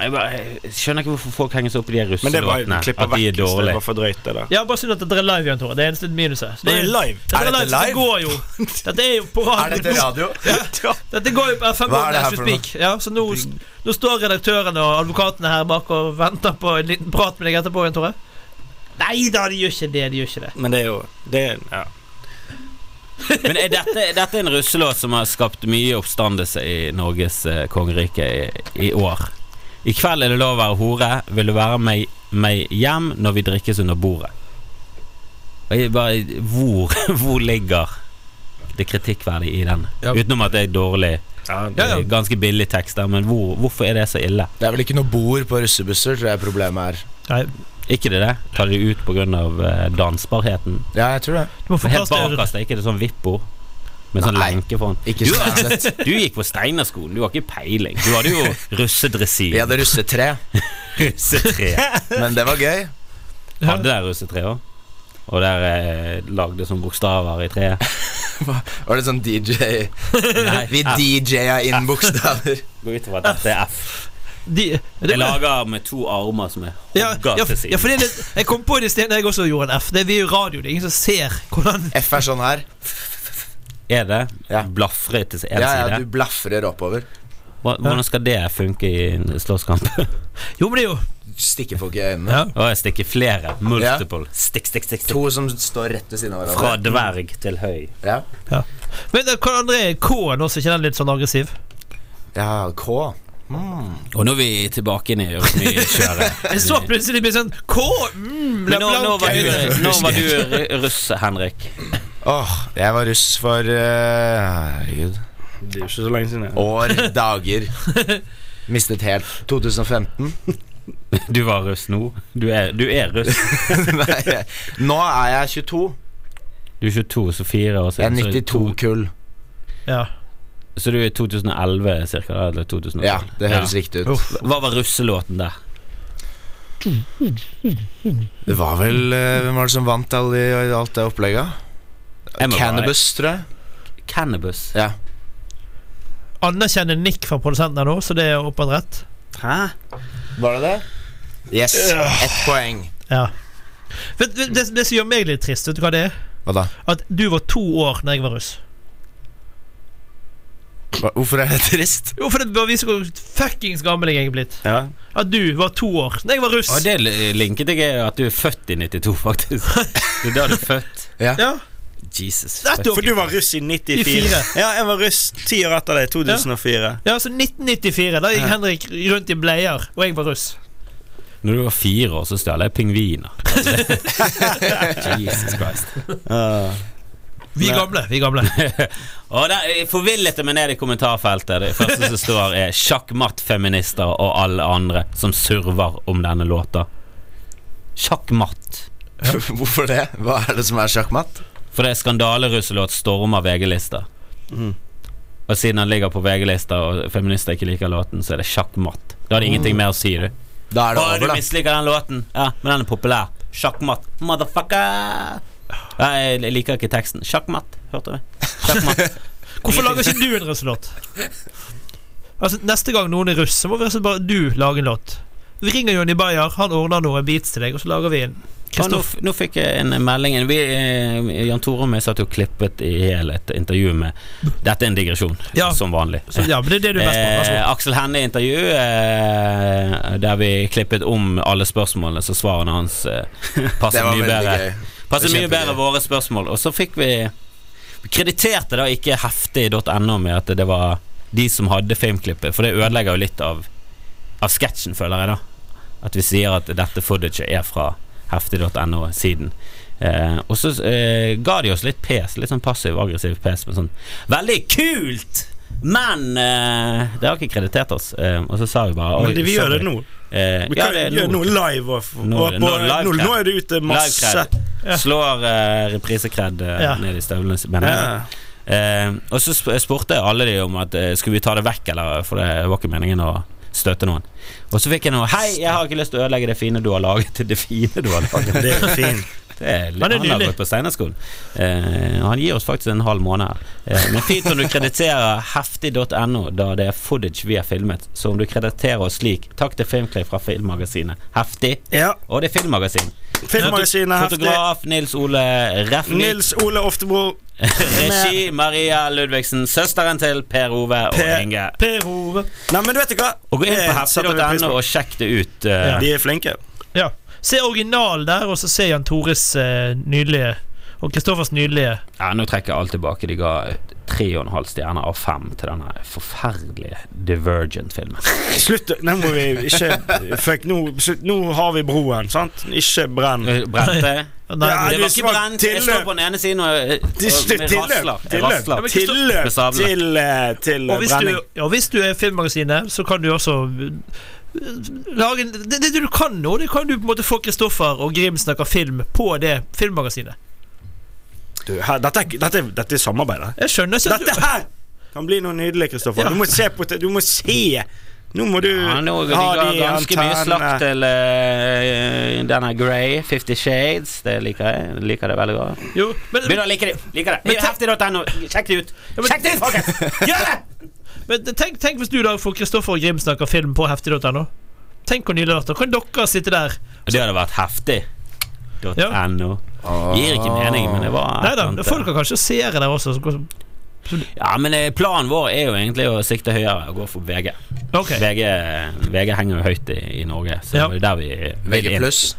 S3: Jeg, bare, jeg skjønner ikke hvorfor folk henger seg opp i de
S5: Men det var jo
S3: russelåtene.
S5: klippa
S3: At de
S5: vekk.
S3: er
S5: hvis Det
S3: dårlige.
S5: var for drøyt, det der.
S2: ja, bare synd at dere er live, Jan Tore. Det er eneste minuset. Så
S5: Det er live.
S2: Dette
S4: Er
S2: er
S4: dette
S2: live, så det
S4: live?
S2: går jo. Dette er jo på
S4: Er
S2: radioen.
S4: dette radio?
S2: Dette går jo på FM
S4: Hva er det her
S2: As we
S4: for noe?
S2: speak. Ja, så nå, nå står redaktørene og advokatene her bak og venter på en liten prat med deg etterpå, Jan Tore. Nei da, de gjør ikke det. De gjør ikke det.
S5: Men det er jo det er, ja.
S3: Men er dette, dette er en russelåt som har skapt mye oppstandelse i Norges eh, kongerike i, i år. I kveld er det lov å være hore. Vil du være meg, meg hjem når vi drikkes under bordet? Og jeg bare, hvor, hvor ligger det kritikkverdige i den?
S2: Ja.
S3: Utenom at det er dårlig, eh,
S2: Ja, ja.
S3: ganske billig tekst der, men hvor, hvorfor er det så ille?
S4: Det er vel ikke noe bord på russebusser, tror jeg problemet er.
S2: Nei,
S3: Ikke det det? Tar de ut pga. eh, dansbarheten?
S4: Ja, jeg tror det.
S2: du må få
S3: Helt
S2: plass til
S3: bakerst, er ikke det sånn vippbord? Med sånn
S4: Nei.
S3: lenke foran.
S4: Ikke
S3: Du-
S4: Steinslett.
S3: Du gikk på Steinerskolen, du har ikke peiling. Du hadde jo russedressin.
S4: Vi hadde russetre,
S3: russetre.
S4: men det var gøy.
S3: Hadde der russetre òg? Og der eh, lagde sånn bokstaver i treet.
S4: Var det sånn DJ
S3: Nei,
S4: Vi
S3: F.
S4: DJ-a inn bokstaver.
S3: Gå ut ifra at dette er F.
S2: de, det,
S3: Jeg lager med to armer som er
S2: ja, ja,
S3: hogga til
S2: ja, for
S3: siden.
S2: det er litt, jeg kom på det i sted da jeg også gjorde en F. Det er vi i radio, det er ingen som ser hvordan
S4: F er sånn her.
S3: Er det
S4: Ja.
S3: blafre til
S4: Ja,
S3: en
S4: ja,
S3: side?
S4: du blafrer oppover.
S3: Hva- Hvordan skal det funke i en slåsskamp?
S2: Jo, men det er jo
S4: Stikker folk i øynene.
S2: Ja.
S3: Å, jeg stikker flere. Multiple. Stikk, stikk, stikk. stikk.
S4: To som står rett ved siden av
S3: Fra
S4: hverandre.
S3: dverg til høy.
S4: Ja.
S2: Men eh, hva andre er K-en også? Ikke den litt sånn aggressiv?
S4: ja, K.
S3: Og nå er vi tilbake inn i rytmekjøret.
S2: Jeg så plutselig blir sånn K! Mm,
S3: Men nå, nå var
S2: blanke øyne.
S3: du, nå var du ru- russ, Henrik.
S4: Åh, jeg var russ for eh, Herregud.
S5: Det er jo ikke så lenge siden. jeg-
S4: År, dager. Mistet helt. 2015.
S3: Du var russ nå. Du er, du er russ.
S4: Nei, jeg- nå er jeg 22.
S3: Du er 22, så fire år
S4: Jeg er
S3: siden. så er du to-
S4: 92-kull.
S2: Ja.
S3: Så du er 2011 cirka, da, eller 2012?
S4: Ja, det høres
S3: Ja.
S4: riktig ut.
S2: Uff.
S3: Hva var russelåten der?
S4: Det var vel eh, Hvem var det som vant alle, alt det opplegget?
S3: Jeg må bare-
S4: Cannabis, tror jeg.
S3: Cannabis.
S4: Ja.
S2: Anerkjenner Nick fra produsenten her nå, så det er åpent rett.
S3: Hæ?
S4: Var det det? Yes. Ett poeng.
S2: Ja. Vet, vet, det, det som gjør meg litt trist, vet du hva det er?
S4: Hva da?
S2: At du var to år da jeg var russ.
S4: Hva- Hvorfor er det trist?
S2: Jo, for det bare viser hvor fuckings gammel jeg er blitt.
S5: Ja.
S2: At du var to år da jeg var russ.
S3: Og det li- linket jeg er at du er født i 92, faktisk. Det er da du er født.
S2: Ja,
S3: Jesus.
S2: Nettopp.
S3: fuck.
S5: For du var russ i 94. Ja, jeg var russ ti år etter deg. 2004.
S2: ja så 1994. Da gikk Henrik rundt i bleier, og jeg var russ.
S3: Når du var fire år, så stjal jeg pingviner. Altså, det- Jesus Christ.
S5: Ja.
S2: Vi gamle. vi gamle
S3: Og der jeg forvillet jeg meg ned i kommentarfeltet. Det første som står, er sjakkmatt-feminister og alle andre som surver om denne låta. Sjakkmatt.
S4: Hvorfor det? Hva er det som er sjakkmatt?
S3: For det er skandaleruselåt stormer VG-lista.
S4: Mm.
S5: Mhm.
S3: Og siden han ligger på VG-lista og feminister ikke liker låten, så er det sjakkmatt. Da har de ingenting mer å si, du.
S4: Da Mm. er
S3: Å,
S4: det
S3: du
S4: over, da.
S3: misliker den låten. Ja, men den er populær. Sjakkmatt. Motherfucker. Ja, jeg liker ikke teksten. Sjakkmatt, hørte du? Sjakkmatt.
S2: Hvorfor lager ikke du en russelåt? Altså, neste gang noen er russ, så må vi altså bare du lage en låt. Vi ringer Jonny Bayer, han ordner noen beats til deg, og så lager vi en.
S3: Og nå,
S2: Kristoff.
S3: f- nå fikk jeg en melding Vi, eh, Jan Tore og jeg satt jo og klippet i hel et intervju med Dette er en digresjon,
S2: Ja.
S3: som vanlig.
S2: Så, ja, men det er det du er best på. Vær så god.
S3: Eh, Aksel Hennie-intervju, eh, der vi klippet om alle spørsmålene, så svarene hans eh,
S4: Det
S3: passer
S4: var
S3: mye
S4: veldig
S3: bedre.
S4: gøy.
S3: Passer
S4: Det er
S3: mye bedre
S4: kjempegøy.
S3: våre spørsmål. Og så fikk vi Vi krediterte da ikke heftig.no med at det var de som hadde filmklippet, for det ødelegger jo litt av Av sketsjen, føler jeg, da. At vi sier at dette footage er fra heftig.no-siden. Eh, og så eh, ga de oss litt pes, litt sånn passiv-aggressiv pes. Men sånn Veldig kult! Men eh, det har ikke kreditert oss. Eh, og så sa vi bare
S5: Men
S3: «Oi,
S5: det- vi gjør
S3: sorry».
S5: det nå.
S3: Eh,
S5: Vi
S3: ja,
S5: kan
S3: det er
S5: gjøre
S3: nå.
S5: noe live. Og, og,
S3: Nå er det-
S5: på,
S3: nå er det live
S5: nå,
S3: cred.
S5: nå er det ute masse.
S3: Livecred. Slår uh, reprisecred eh,
S2: Ja.
S3: ned i støvlene, mener jeg.
S5: Ja.
S3: Eh, og så sp spurte jeg alle de om at eh, skulle vi ta det vekk, eller for det var ikke meningen å støte noen. Og så fikk jeg noe Hei, jeg har ikke lyst til å ødelegge det fine du har laget. Det fine du har laget.
S5: Det er fint.
S3: Det er,
S2: Men det er
S3: han har
S2: nydelig.
S3: gått på Steinerskolen. Eh, han gir oss faktisk en halv måned her. Eh, men fint om du krediterer heftig.no, da det er footage vi har filmet. Så om du krediterer oss slik, takk til Filmklay fra Filmmagasinet. Heftig.
S5: Ja.
S3: Og det er Filmmagasin.
S5: Filmmagasinet er heftig.
S3: Fotograf Nils Ole Refnik.
S5: Nils Ole Oftebro.
S3: Regi Maria Ludvigsen, søsteren til Per Ove og
S5: Per-
S3: Inge.
S2: Per Ove.
S5: Nei, men du vet hva?
S3: Og gå inn på
S5: Det setter vi pris
S3: heftig.no og sjekk det ut. eh,
S5: De er flinke.
S2: Ja. Se originalen der, og så se Jan Tores eh, nydelige og Kristoffers nydelige
S3: Ja, Nå trekker jeg alt tilbake. De ga tre og en halv stjerne av fem til denne forferdelige Divergent-filmen.
S5: Slutt. Nå må vi ikke Fuck, nå, slutt. nå har vi broen, sant? Ikke brenn.
S3: Eh, Brente.
S2: Nei,
S5: Ja,
S3: det
S5: du
S3: var ikke
S5: svak
S3: brent. Jeg står
S5: tilløp.
S3: på den ene siden og, eh, og,
S5: Tilløp,
S3: jeg rasler. Jeg rasler.
S5: tilløp, tilløp
S3: Med sablene.
S5: til, eh, til
S2: Og
S5: eh,
S2: hvis,
S5: brenning.
S2: du, ja, hvis du er filmmagasinet, så kan du også eh, lage en, det, det du kan nå, det kan du på en måte få Kristoffer og Grim snakker film på det filmmagasinet.
S5: Du, her, dette, er ikke- dette, er- dette er samarbeidet.
S2: Jeg skjønner ikke at
S5: Dette
S2: du
S5: her kan bli noe nydelig, Kristoffer.
S2: Ja.
S5: Du må se på det. Du må se. Nå må du
S3: Ja, nå, de
S5: ha
S3: ga
S5: de
S3: ganske mye slakk
S5: antennene.
S3: til eh, denne Grey, Fifty Shades. Det liker jeg. Jeg Liker det veldig godt.
S2: jo, men,
S3: Begynner å like det. Liker det.
S2: Men te-
S3: Heftig.no. Sjekk det ut.
S2: Ja, men-
S3: Sjekk det ut, folkens! Gjør det!
S2: men tenk, tenk hvis du da får Kristoffer og Grim snakker film på heftig.no. Tenk hvor nydelig det hadde vært. Kan dere sitte der?
S3: Det hadde vært heftig. .no. Gir ikke mening, men det var
S2: Nei da, folk kan kanskje seere der også. så-
S3: Ja, men eh, planen vår er jo egentlig å sikte høyere og gå for VG.
S2: Ok.
S3: VG, VG henger jo høyt i, i Norge, så
S2: Ja.
S3: det er der vi vil
S4: VG
S3: inn.
S4: pluss.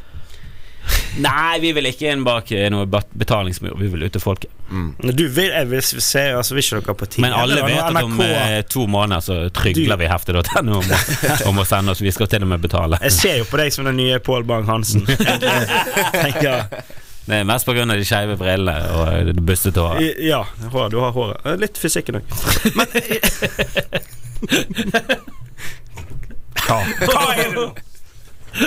S3: Nei, vi vil ikke inn bak eh, noe bat- betalingsmur, vi vil ut til folket.
S5: Men Du vil, jeg vil se, altså, vil ikke dere på tide?
S3: Men alle
S5: Eller
S3: vet
S5: noe
S3: at om
S5: NRK.
S3: eh, to måneder så trygler vi heftet.no om, å- om å sende oss. Vi skal til og med betale.
S5: Jeg ser jo på deg som den nye Pål Bang-Hansen. Tenker
S3: Det er mest pga. de skeive brillene og det bustete håret.
S5: I- Ja, hår, du har håret. Eh, Litt fysikken òg. Hva er det nå?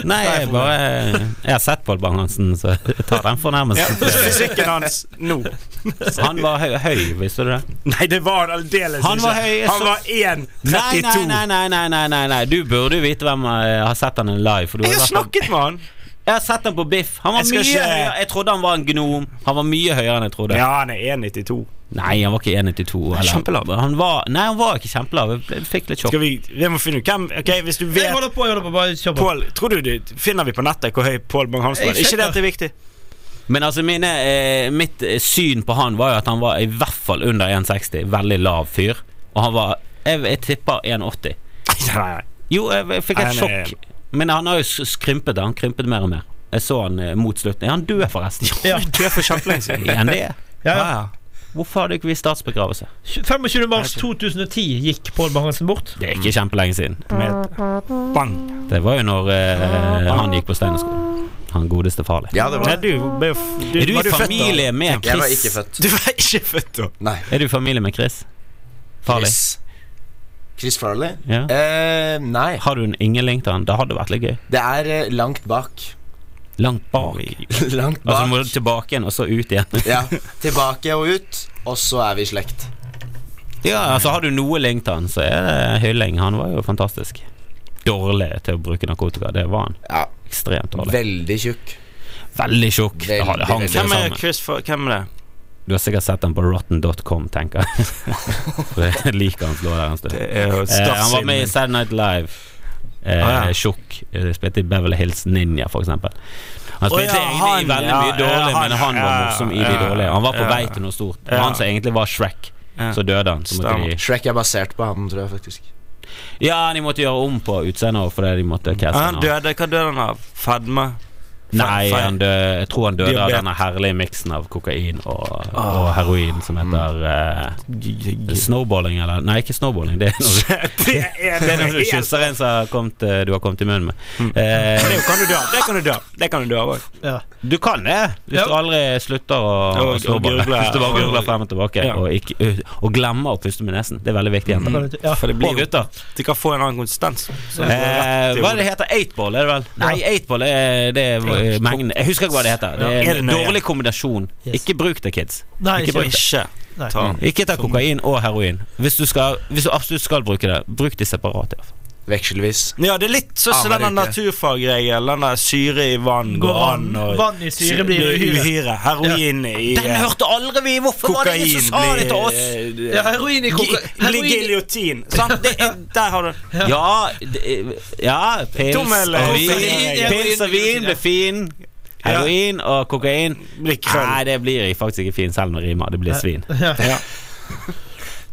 S3: Nei, jeg bare eh, Jeg har sett Pål Bang-Hansen, så jeg tar den fornærmelsen.
S5: Fysikken hans nå.
S3: Han var høy, høy, visste du det?
S5: Nei, det var han aldeles
S3: Han var høy, jeg
S5: Han
S3: så-
S5: var
S3: Nei, nei,
S5: 1,32.
S3: nei, nei, nei, nei, nei, nei. Du burde jo vite hvem eh, jeg har sett han live. For du
S5: Jeg har
S3: vært på-
S5: snakket med han.
S3: jeg har sett han på Biff. Han var
S5: Jeg skal
S3: mye
S5: ikke-
S3: høyere. Jeg trodde han var en gnom. Han var mye høyere enn jeg trodde.
S5: Ja, han er 1,92.
S3: Nei, han var ikke 1,92. eller-
S5: Kjempelav.
S3: Han var, nei, han var ikke kjempelav. Jeg ble- fikk litt sjokk.
S5: Skal vi, vi må finne ut hvem Ok, Hvis du
S2: Jeg
S5: vet
S2: holder på, jeg holder på. Bare kjør på.
S5: Pål, tror du det Finner vi på nettet hvor høy Pål Bang-Hansen var?
S2: Jeg
S5: Ikke det at det er viktig?
S3: Men altså, mine, eh, mitt eh, syn på han var jo at han var i hvert fall under 1,60. Veldig lav fyr. Og han var Jeg, jeg tipper 1,80.
S5: Nei, nei, nei.
S3: Jo, jeg, jeg fikk et
S5: Nei, nei.
S3: sjokk. Men han har jo s- skrympet. Han krympet mer og mer. Jeg så han eh, mot slutten. Er han død, forresten?
S2: Ja.
S5: Du er for kjempelenge siden.
S3: Er han det?
S2: Ja, ja.
S3: Hvorfor hadde ikke vi statsbegravelse?
S2: 25. mars 2010 gikk Pål Bang-Hansen bort.
S3: Det er ikke kjempelenge siden.
S5: Med bang.
S3: Det var jo når eh, han gikk på Steinerskolen. Han godeste far din.
S4: Ja, det
S5: Nei,
S4: var det.
S5: du ble jo f-
S3: Er du
S5: var
S3: i
S5: født da?
S3: familie med
S4: Jeg var ikke
S3: Chris?
S4: født.
S5: Du var ikke født da.
S4: Nei.
S3: Er du i familie med Chris? Farlig?
S4: Chris. Chris Farley?
S3: Ja.
S4: Eh, nei.
S3: Har du en yngling til han? Det hadde vært litt gøy.
S4: Det er eh, langt bak.
S3: Langt bak.
S4: langt
S3: Altså du må
S4: bak.
S3: tilbake igjen, og så ut igjen.
S4: Ja. Tilbake og ut, og så er vi i slekt.
S3: Ja, altså Har du noe link til han, så er det hylling. Han var jo fantastisk. Dårlig til å bruke narkotika. Det var han.
S4: Ja.
S3: Ekstremt dårlig.
S4: Veldig tjukk.
S3: Veldig tjukk. Det har- det hang
S4: Veldig, veldig.
S3: seg
S5: Hvem er
S3: sammen.
S5: Chris for, Hvem er det?
S3: Du har sikkert sett han på rotten.com, tenker jeg. For jeg liker han lå der en stund.
S5: er jo
S3: Eh, han var med i Sad Night Live. Eh,
S5: Ah, ja.
S3: Tjukk. Eh, Spilte i Beverly Hills Ninja, for eksempel. Han
S5: Å,
S3: spilte
S5: ja,
S3: egentlig i
S5: han,
S3: veldig
S5: ja,
S3: mye dårlig,
S5: ja, han,
S3: men han var
S5: ja,
S3: morsom i de
S5: ja,
S3: dårlige. Han var på
S5: ja.
S3: vei til noe stort. Det var
S5: Ja.
S3: Han som egentlig var Shrek,
S5: Ja.
S3: så døde han. Så måtte de,
S4: Shrek er basert på han, tror jeg faktisk.
S3: ja, de måtte gjøre om på utseendet også, fordi de måtte caste
S5: Han
S3: han. av.
S5: døde, hva døde han av? Fedme?
S3: Nei,
S5: feil.
S3: han døde, jeg tror han døde av
S5: Diabetes.
S3: denne herlige miksen av kokain og,
S5: Ah.
S3: og heroin som heter
S5: Mm.
S3: eh, snowballing, eller Nei, ikke snowballing. Det er når du,
S5: Det er
S3: det er når du
S5: helt- Mm.
S3: kysser en som har kommet, eh, du har kommet i munnen med. Eh,
S5: Det kan du dø av. Det kan du dø av. Det kan du dø av òg.
S2: Ja.
S3: Du kan det, hvis
S2: Ja.
S3: du aldri slutter å
S5: Og-
S3: å slå
S5: og
S3: ball.
S5: gurgle.
S3: Hvis du bare gurgler frem og tilbake,
S5: Ja.
S3: og, ikke, og glemmer å puste med nesen. Det er veldig viktig. jenter.
S2: Ja.
S5: Mm. For det
S3: Og
S5: blir jo
S3: gutter.
S5: De kan få en annen konsistens. Så det går
S3: Eh,
S5: rett i
S3: hva er det
S5: hodet.
S3: heter Eightball, er det vel? Nei, eightball er, det er eh, mengden Jeg husker ikke hva det heter. Det
S5: Ja. Er
S3: er
S5: det
S3: en
S5: nøye?
S3: dårlig kombinasjon.
S2: Yes.
S3: Ikke bruk det, kids.
S2: Nei,
S3: Ikke
S2: ikke
S3: bruk det.
S5: Ikke
S2: Nei.
S5: ta han.
S3: Ikke ta kokain og heroin. Hvis du, skal, hvis du absolutt skal bruke det, bruk de separat. i hvert fall.
S4: Vekselvis.
S5: Ja, det er litt sånn som
S3: Ah,
S4: Aner
S5: den
S4: ikke.
S5: naturfagregelen. Den der syre i vann
S2: Går
S5: går an.
S2: an.
S5: og-
S2: Vann i syre blir uhyre.
S5: Heroin i
S3: Den
S5: eh,
S3: hørte aldri vi! Hvorfor var det ingen
S5: kokain
S3: som sa det til oss?
S5: blir eh,
S2: Ja, heroin i koka...
S5: Blir
S2: Heroin i
S5: giljotin. Sant? Det er, der har du
S3: Ja, det- ja pils og
S5: Tommel,
S3: vin.
S2: kokain,
S3: Pils og vin blir fin. Heroin og kokain
S5: Blir krøll.
S3: Nei, det blir faktisk ikke fin selv om det rimer. Det blir svin.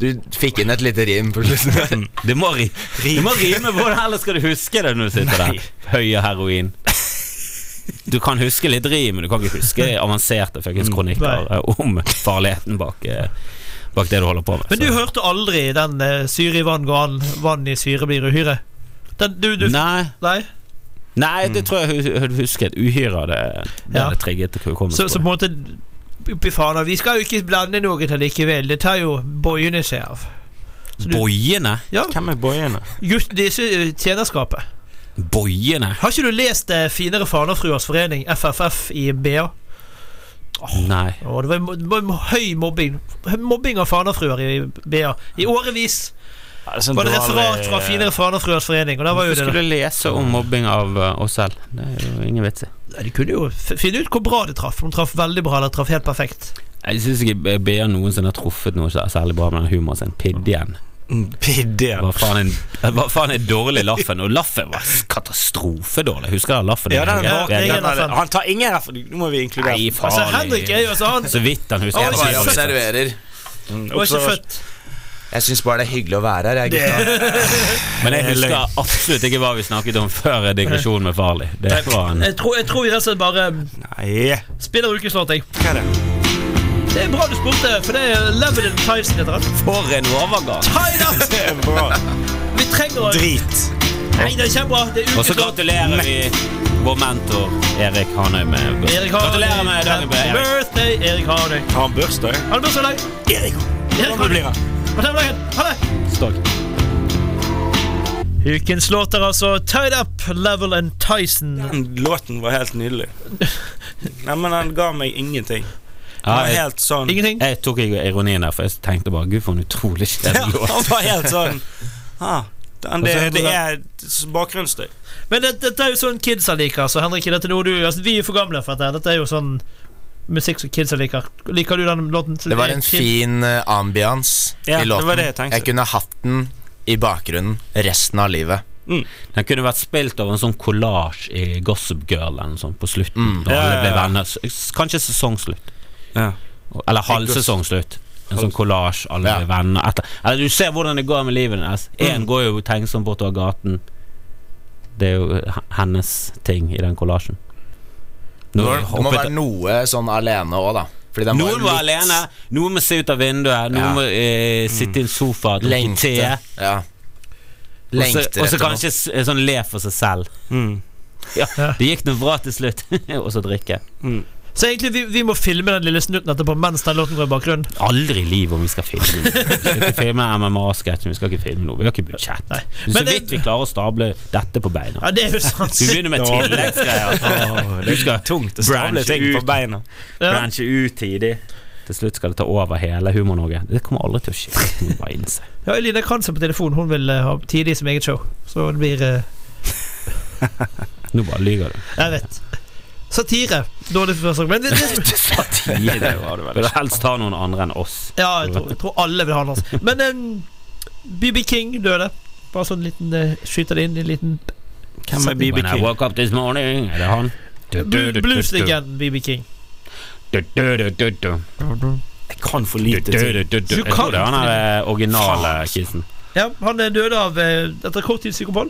S4: Du fikk inn et lite rim på slutten.
S3: Det må, ri det må rime, hvordan ellers skal du huske det når du sitter der? Høy og heroin. Du kan huske litt rim, men du kan ikke huske avanserte fuckings kronikker
S2: Nei.
S3: eh, om farligheten bak, eh, bak det du holder på med.
S2: Men du
S3: Så-
S2: hørte aldri den eh, syre i vann går an, vann i syre blir uhyre? Den, du, du,
S3: Nei,
S2: nei?
S3: nei, det tror jeg hu- hu- husket. Uhyra, det, det
S2: Mm. Ja.
S3: hadde trigget
S2: Så,
S3: hukommelsen.
S2: så på en måte Fy fader, vi skal jo ikke blande noe til likevel. Det tar jo bojene seg av. så du-
S3: Boiene?
S2: Ja,
S5: Hvem er boyene?
S2: just disse eh, tjenerskapet.
S3: Boiene?
S2: Har ikke du lest eh, Finere fanerfruers forening, FFF, i BA?
S3: Nei.
S2: Å, det var, mo- det var mo- høy mobbing Mobbing av fanerfruer i BA. I årevis var det referat fra Finere fanerfruers forening, og der var jo
S3: Hvorfor
S2: det
S3: skulle lese om mobbing av eh, oss selv? Det er jo ingen vits i.
S2: Nei, De kunne jo f- finne ut hvor bra det traff. Om det traff veldig bra eller traff helt perfekt.
S3: Jeg syns ikke BA noensinne har truffet noe så- særlig bra med den humoren sin. Piddien.
S5: Mm, Pidde.
S3: Hva faen er, hva faen er dårlig laffen? Og laffen var s- katastrofedårlig. Husker dere laffen?
S5: Ja, den
S3: Jeg-
S5: er
S2: Ja,
S5: bak.
S3: jeg-
S2: jeg-
S5: Den er- Han tar ingen referat. Nå må vi inkludere
S3: Nei,
S2: Altså,
S3: farlig.
S2: Henrik er jo altså han
S3: Så vidt han husker.
S2: Å,
S4: Jeg bare
S2: Jesus.
S4: observerer.
S2: Du var ikke
S5: observas-
S2: født.
S4: Jeg syns bare det er hyggelig å være her. Jeg, gutta.
S3: Men jeg husker absolutt ikke hva vi snakket om før digresjonen med Farley. Det var en
S2: Jeg tror, jeg tror vi rett og slett bare um,
S5: Nei,
S2: spiller ukeslåt, jeg.
S5: hva er det?
S2: Det er bra du spurte, for det er Lebanon Tyson heter han.
S3: For en overgang!
S2: Tyler!
S5: Det er bra.
S2: Vi trenger å-
S5: Drit.
S2: Nei, det er kjempebra. Det er
S3: Og så
S2: ukeslåt.
S3: gratulerer vi vår mentor Erik Hanøy med
S2: Erik Hardy.
S3: Gratulerer med dagen,
S2: Happy
S3: Erik.
S2: Birthday, Erik Hardy.
S5: Har han bursdag?
S2: Ha det bra så lenge.
S5: Erik.
S2: Erik
S5: Hvordan
S2: Hardy.
S5: blir han?
S2: Gratulerer med dagen. Ha det.
S3: Stokk.
S2: Ukens låt er altså Tied Up, Level and Tyson.
S5: Den låten var helt nydelig. Nei, men den ga meg ingenting. Den
S3: Ja,
S5: var
S3: jeg,
S5: helt sånn
S2: Ingenting?
S3: jeg tok ikke ironien der, for jeg tenkte bare Gud, for en utrolig
S5: Ja,
S3: kjedelig låt.
S5: Han var helt sånn ah, den, det,
S3: Og så
S5: det er
S3: hørte
S5: bakgrunnsstøy.
S2: Men det- dette er jo sånn kidsa liker, så Henrik, dette er noe du altså, Vi er for gamle for dette. her. Dette er jo sånn musikk som kidsa liker. Liker du den låten?
S4: det var en fin eh, ambians
S5: Ja,
S4: i
S5: det
S4: låten.
S5: var det jeg tenkte.
S4: kunne hatt den i bakgrunnen resten av livet.
S3: Den kunne vært spilt over en sånn collage i Gossip Girl eller noe sånt på slutten. Når
S5: Ja, ja,
S3: alle ble
S5: ja.
S3: venner S- Kanskje sesongslutt.
S5: Ja.
S3: Eller halvsesongslutt. En sånn collage, alle
S4: Ja.
S3: ble venner etter. Eller, Du ser hvordan det går med livet hennes. Én går jo tenksom bortover gaten. Det er jo h- hennes ting i den kollasjen. Nå
S4: Når, det må
S3: hoppet-
S4: være noe sånn alene òg, da. Fordi den
S3: noen var alene, noen må se ut av vinduet, noen
S4: Ja. Mm.
S3: må eh, sitte i en sofa og drikke te.
S4: Lengte. Ja.
S3: Og så-
S4: Lengter
S3: Og så
S4: etter
S3: kanskje s- sånn le for seg selv.
S5: Mm.
S3: Ja, Det gikk nå bra til slutt. og så drikke.
S2: Så egentlig, vi, vi må filme den lille snutten etterpå mens den låten går i bakgrunnen.
S3: Aldri i livet om vi skal filme noe. Vi skal ikke filme MMA-sketsjen, vi skal ikke filme noe. Vi har ikke budsjett.
S2: Nei.
S3: Men så
S2: Men det-
S3: vidt vi klarer å stable dette på beina.
S2: Ja, det er jo sant.
S3: Du begynner med tilleggsgreier. Du skal
S5: Tungt å stable
S3: branche
S5: ting på
S3: ut.
S5: beina.
S2: Ja.
S3: branche ut tidlig. Til slutt skal det ta over hele Humor-Norge. Det kommer aldri til å skje. Det må du Bare innse.
S2: Ja, Elina Kranse på telefon. Hun vil eh, ha tidlig som eget show. Så det blir eh,
S3: Nå bare lyver du.
S2: Jeg vet. Satire. Dårlig forslag. Men det, det,
S3: Gi deg, var det vel. Vil du helst ta noen andre enn oss.
S2: ja, jeg tror, jeg tror alle vil ha den. altså. Men em, BB King døde. Bare sånn liten eh, Skyter det inn i en liten
S5: Hvem er BB
S3: When I
S5: King?
S3: woke up this morning Er det han?
S2: Blu- Blueslegenden BB King.
S5: Jeg kan for lite til.
S3: Jeg tror det er han er originale kissen.
S2: Ja, han eh, døde av eh, etter kort tids psykopoll.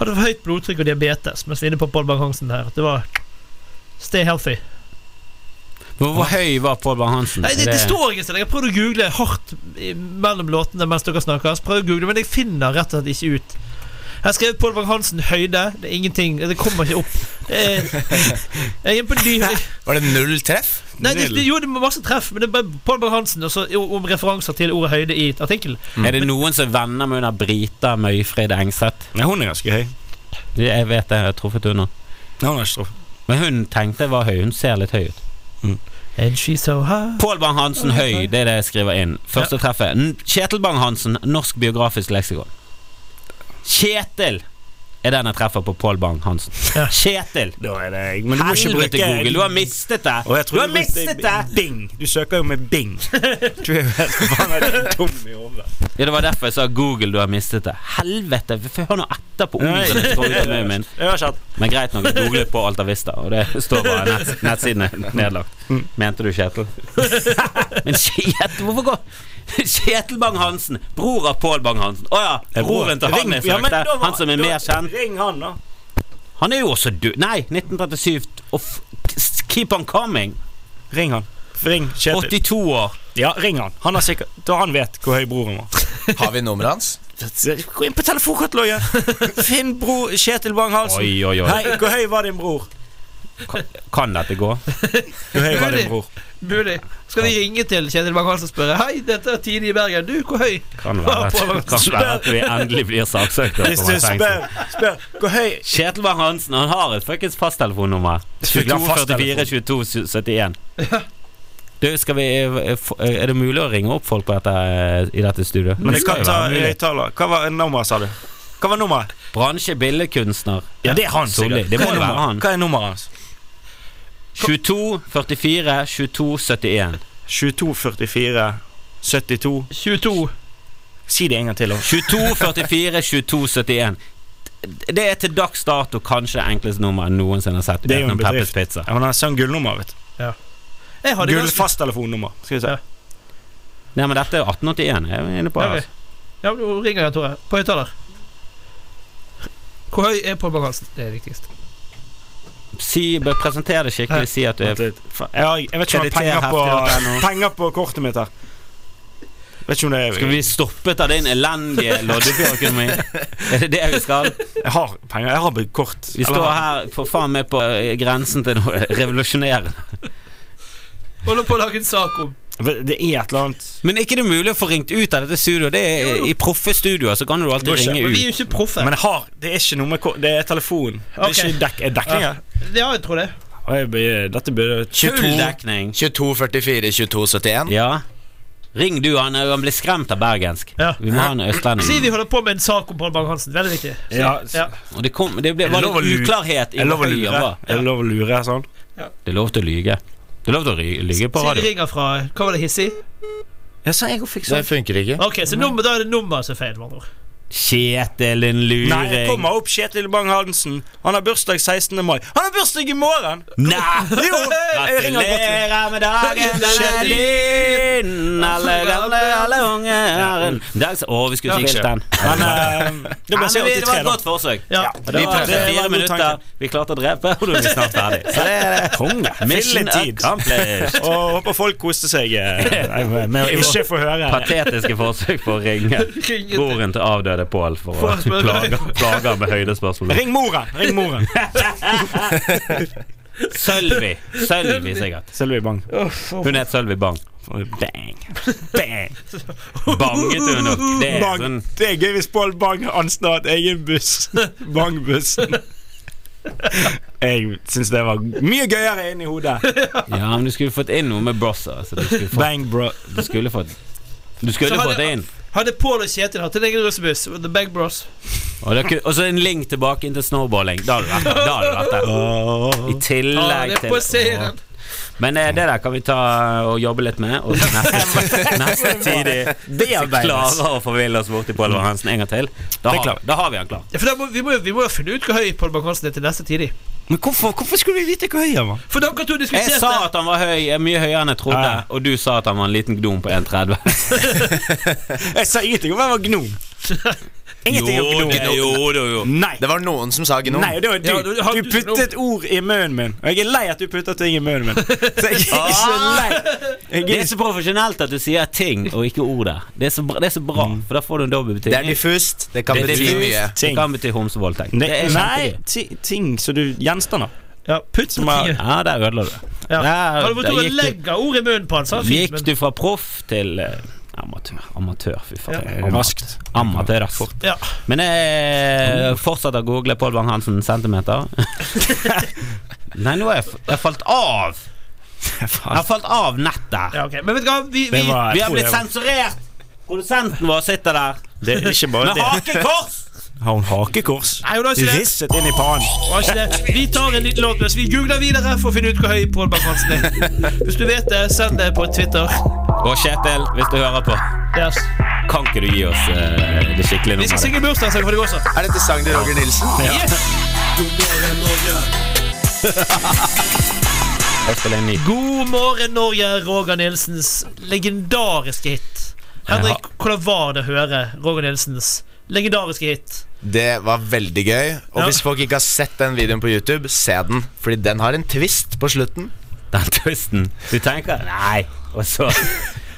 S2: Hadde for høyt blodtrykk og diabetes, mens vi er inne på Pål Bang-Hansen her. Det var Stay healthy.
S3: Hvor, hvor høy var Pål Bang-Hansen?
S2: Nei, det, det står ikke et sted. Jeg har prøvd å google hardt i- mellom låtene mens dere snakker. Så prøver jeg å google, Men jeg finner rett og slett ikke ut. Jeg har skrevet Pål Bang-Hansen høyde. Det er ingenting. Det kommer ikke opp. Eh, Jeg er inne på ny
S4: noe. Var det null treff?
S2: Nei, det, det, jo, det er masse treff, men det er bare Pål Bang-Hansen og så jo, om referanser til ordet høyde i artikkelen.
S3: Er det noen som er venner med hun der Brita Møyfrid Engseth?
S5: Nei, hun er ganske høy.
S3: Jeg vet det, jeg har truffet henne.
S5: Nei, hun er ikke straff.
S3: Men hun tenkte jeg var høy. Hun ser litt høy ut.
S2: And she's so high.
S3: Pål Bang-Hansen høy, det er det jeg skriver inn. Første treffet. N- Kjetil Bang-Hansen, Norsk biografisk leksikon. Kjetil er den jeg treffer på Pål Bang-Hansen. Kjetil!
S5: Da er det jeg. Men du må ikke
S3: Helvete,
S5: bruke
S3: Google, du har mistet det!
S5: Og jeg tror
S3: Du har
S5: brukte
S3: mistet det!
S5: Bing! Du søker jo med Bing. Du er jo helt forbanna dum i hodet.
S3: Ja, Det var derfor jeg sa Google, du har mistet det. Helvete! f- Hør nå etter på ordene som står ut av munnen min.
S5: Jeg har ikke hatt
S3: Men greit nok, jeg googlet på Altavista, og det står bare nett, nettsiden er nedlagt.
S5: Mm.
S3: Mente du Kjetil? Men Kjetil, hvorfor går Kjetil Bang-Hansen, bror av Pål Bang-Hansen. Å ja,
S5: Jeg bror.
S3: broren til
S5: Ring-
S3: han jeg
S5: ja, men
S3: søkte.
S5: da var-
S3: Han som er
S5: da-
S3: mer kjent.
S5: Ring han, da.
S3: Han er jo også død. Nei, 1937. Og f keep on coming.
S5: Ring han. Ring Kjetil.
S3: 82 år.
S5: Ja, ring han. Han, har sikkert, da han vet hvor høy broren var.
S4: Har vi nummeret hans?
S5: Gå inn på telefonkatalogen! Finn bror Kjetil Bang-Hansen.
S3: Oi, oi, oi.
S5: Hei, hvor høy var din bror?
S3: Kan dette gå?
S5: Hvor høy var din bror?
S2: Mulig. Skal vi ringe til Kjetil Bang-Hansen og spørre Hei, dette er Tine i Bergen. Du, hvor høy?
S3: Kan være, kan være at vi endelig blir saksøkt.
S5: Hvis du spør, spør hvor høy
S3: Kjetil Bang-Hansen han har et fuckings fasttelefonnummer. 2244 22 71. Du, skal vi eh, f- eh, Er det mulig å ringe opp folk på dette, eh, i dette studioet?
S5: Men jeg
S3: skal
S5: kan
S3: jo
S5: ta
S3: være mulig.
S5: høyttaler. Hva var nummeret, sa du? Hva var nummeret?
S3: Bransje billedkunstner.
S5: Ja, det er han,
S3: Solli. Det
S5: Hva
S3: må
S5: er
S3: jo være
S5: nummeret?
S3: han.
S5: Hva er nummeret hans?
S3: 22 44 22 71.
S5: 22 44 72
S2: 22.
S5: Si det en gang til.
S3: 22 44 22 71. D- Det er til dags dato kanskje det enkleste nummeret jeg noensinne har sett.
S5: Det er jo en
S3: utenom Peppers
S5: bedrift.
S3: Pizza.
S5: Ja, men han sang gullnummer, vet du.
S2: Jeg hadde ganske
S5: Gullfasttelefonnummer. Skal vi se.
S2: Ja.
S3: Nei, men dette er 1881. Jeg er inne på
S2: Ja,
S3: her.
S2: ok. Ja, men nå ringer jeg, Tore. På høyttaler. Hvor høy er Pål Bang-Hansen? Det er viktigst.
S3: altså. Si, bør presentere det
S2: Ja.
S3: skikkelig. Si at du
S5: Jeg
S3: er
S5: vet ikke om det er penger på, penger på kortet mitt her. Vet ikke om det er
S3: Skal vi bli stoppet av din elendige loddefjørøkonomi? Er det det vi skal?
S5: Jeg har penger. Jeg har brukt kort.
S3: Vi står her for faen meg på eh, grensen til noe revolusjonerende.
S2: Holder på å lage en sak om
S5: Eller- Det er et eller annet
S3: Men er ikke det mulig å få ringt ut av dette studioet? Det er, I proffe studioer så kan du alltid
S5: Går ikke.
S3: ringe
S2: Men vi er
S3: ut.
S2: jo ikke proffe.
S5: Men jeg har Det er ikke noe med kort. Det er telefon. Det er
S2: Ok.
S5: ikke dekk, er dekning her.
S2: Ja, jeg tror det.
S5: Og jeg blir- Dette blir 22
S3: Full dekning.
S4: 2244 2271.
S3: Ja. Ring du, han, han blir skremt av bergensk.
S2: Ja.
S3: Vi må ha en
S2: Si vi
S3: østlending.
S2: holder på med en sak om Pål Bang-Hansen. Veldig viktig. Si.
S5: Ja,
S2: Ja.
S3: Og det, kom, det ble,
S5: Er det
S3: var
S5: lov å
S3: litt
S5: lu-
S3: uklarhet i
S5: Er det lov å
S3: hvor høy han
S5: lure?
S3: var.
S5: Er det lov å lure sånn?
S3: Det er lov til å lyge. Det er lov til å ry- lyge på
S2: Si de
S3: radio.
S2: ringer fra Hva var det hissig?
S5: Ja, så jeg fikk
S4: Det funker ikke.
S2: Ok, så nummer, da er det nummer som er feil, med andre ord.
S3: Kjetil, en
S5: Nei, det
S3: luring.
S5: kommer opp Kjetil Bang-Hansen. Han har bursdag 16. mai. Han har bursdag i morgen!
S3: Nei!
S5: Jo! Jeg ringer Gottlieb.
S3: Gratulerer med dagen, den er din! Alle gamle, alle unge er en dag som- Å, vi skulle ikke spilt den.
S5: Men eh, det ble
S3: Men vi- det var
S5: 83,
S3: et
S5: da.
S3: godt forsøk.
S2: Ja.
S3: Og Det var
S5: prøvde. Det var
S3: fire
S5: en god
S3: minutter.
S5: tanke.
S3: Vi klarte å drepe, og da er vi snart ferdig. Så det er konge. Mission
S5: Filletid.
S3: accomplished.
S5: Og håper folk koste seg eh, med å ikke få høre det.
S3: Patetiske forsøk på å ringe
S2: Ringe til-
S3: broren til avdøde Pål for å
S2: For å spørre.
S3: plage plage han med høydespørsmål.
S5: Ring moren! Ring moren.
S3: Sølvi. Sølvi, sikkert.
S5: Sølvi Bang.
S3: Hun het Sølvi Bang.
S5: Bang. Bang.
S3: Banget hun nok. Det er
S5: Bang.
S3: sånn
S5: Det er gøy hvis Pål Bang anslår at egen buss. Bang-bussen. Jeg syns det var mye gøyere inni hodet.
S3: Ja, men du skulle fått inn noe med Brosser. Så du skulle fått
S5: Bang, bro.
S3: Du skulle fått Du skulle
S2: Så hadde-
S3: fått det inn.
S2: Hadde Pål og Kjetil hatt en egen russebuss? The Bag Bros.
S3: Og, det kunne, og så en link tilbake inn til snowballing. Da hadde du vært der. Da hadde du vært der. I
S2: Ja,
S3: tillegg
S2: det er på
S3: til
S2: serien.
S3: Men eh, det der kan vi ta eh, og jobbe litt med. Og så neste, neste tid
S5: Bearbeides.
S3: klarer å forville oss borti Pål Hansen en gang til. Da
S5: Det er
S3: har,
S5: klart.
S3: da har vi han klar.
S2: Ja, for da må, vi, må, jo- vi må jo finne ut hvor høy Pål Bang-Hansen er til neste tidlig.
S5: Men hvorfor, hvorfor skulle vi vite hvor høy han var?
S2: For dere to
S3: Jeg sa
S2: diskuterte
S3: at han var høy, eh, mye høyere enn jeg trodde,
S5: Ja.
S3: og du sa at han var en liten gnom på 1,30.
S5: Jeg sa ingenting om han var gnom. Ingenting om gnom.
S3: det- jo, jo, jo.
S5: Nei.
S4: Det var noen som sa gnom.
S5: Nei, det var du.
S2: Ja, du- har
S5: du
S2: du-
S5: puttet ord i munnen min. Og jeg er lei at du putter ting i munnen min. Så jeg er så lei. Jeg
S3: Ah. Det
S5: er
S3: er så profesjonelt at du sier ting og ikke ord der. Det er så bra, det er så bra for da får du en dobbel
S4: Mm. Det er
S3: betydning.
S4: diffust. Det kan
S3: Det er
S4: bety
S3: diffust.
S4: mye.
S3: Det kan bety homsevoldtekt.
S5: Nei,
S3: Det er
S5: nei
S3: kjempegøy.
S5: ti- ting som du Gjenstander.
S2: Ja, putt på
S5: Som er-
S2: tida.
S3: Ja, der ødela du det.
S2: Ja.
S3: Der,
S2: Hadde vært
S3: der
S2: å
S3: gikk, du,
S2: legge ord i munnen på han, sa han fint,
S3: gikk
S2: men
S3: du fra proff til eh, amatør. Amatør, fy faen.
S2: Ja.
S3: Amat-
S5: Raskt.
S3: Amatør, ass.
S2: Ja.
S3: Men
S5: Mm.
S3: jeg fortsetter å google Pål Bang-Hansen centimeter. Nei, nå har jeg, f- jeg har falt av. Jeg har falt av nettet.
S2: Ja, ok. Men vet du hva, vi, vi
S5: Det var-
S3: Vi har
S5: tror
S3: blitt
S5: jeg var-
S3: sensurert! Produsenten vår sitter der
S5: Det er ikke bare
S3: med
S5: det.
S3: hakekors!
S5: Har hun hakekors?
S2: Nei, hun har ikke det.
S5: Risset inn i pannen.
S2: Var ikke det. Vi tar en liten låt mens vi googler videre for å finne ut hvor høy Pål Bang-Hansen er. Hvis du vet det, send det på Twitter.
S3: Og Kjetil, hvis du hører på,
S2: Yes.
S3: kan ikke du gi oss eh, det skikkelige
S2: Vi skal
S3: nummeret?
S2: synge bursdagssang for deg også.
S4: Er dette sang til Roger Nilsen?
S3: Jeg spiller en ny.
S2: God morgen, Norge, Roger Nilsens legendariske hit. Henrik, hvordan var det å høre Roger Nilsens legendariske hit?
S4: Det var veldig gøy. Og
S2: Ja.
S4: hvis folk ikke har sett den videoen på YouTube, se den. Fordi den har en twist på slutten,
S3: den twisten. Du tenker nei, og så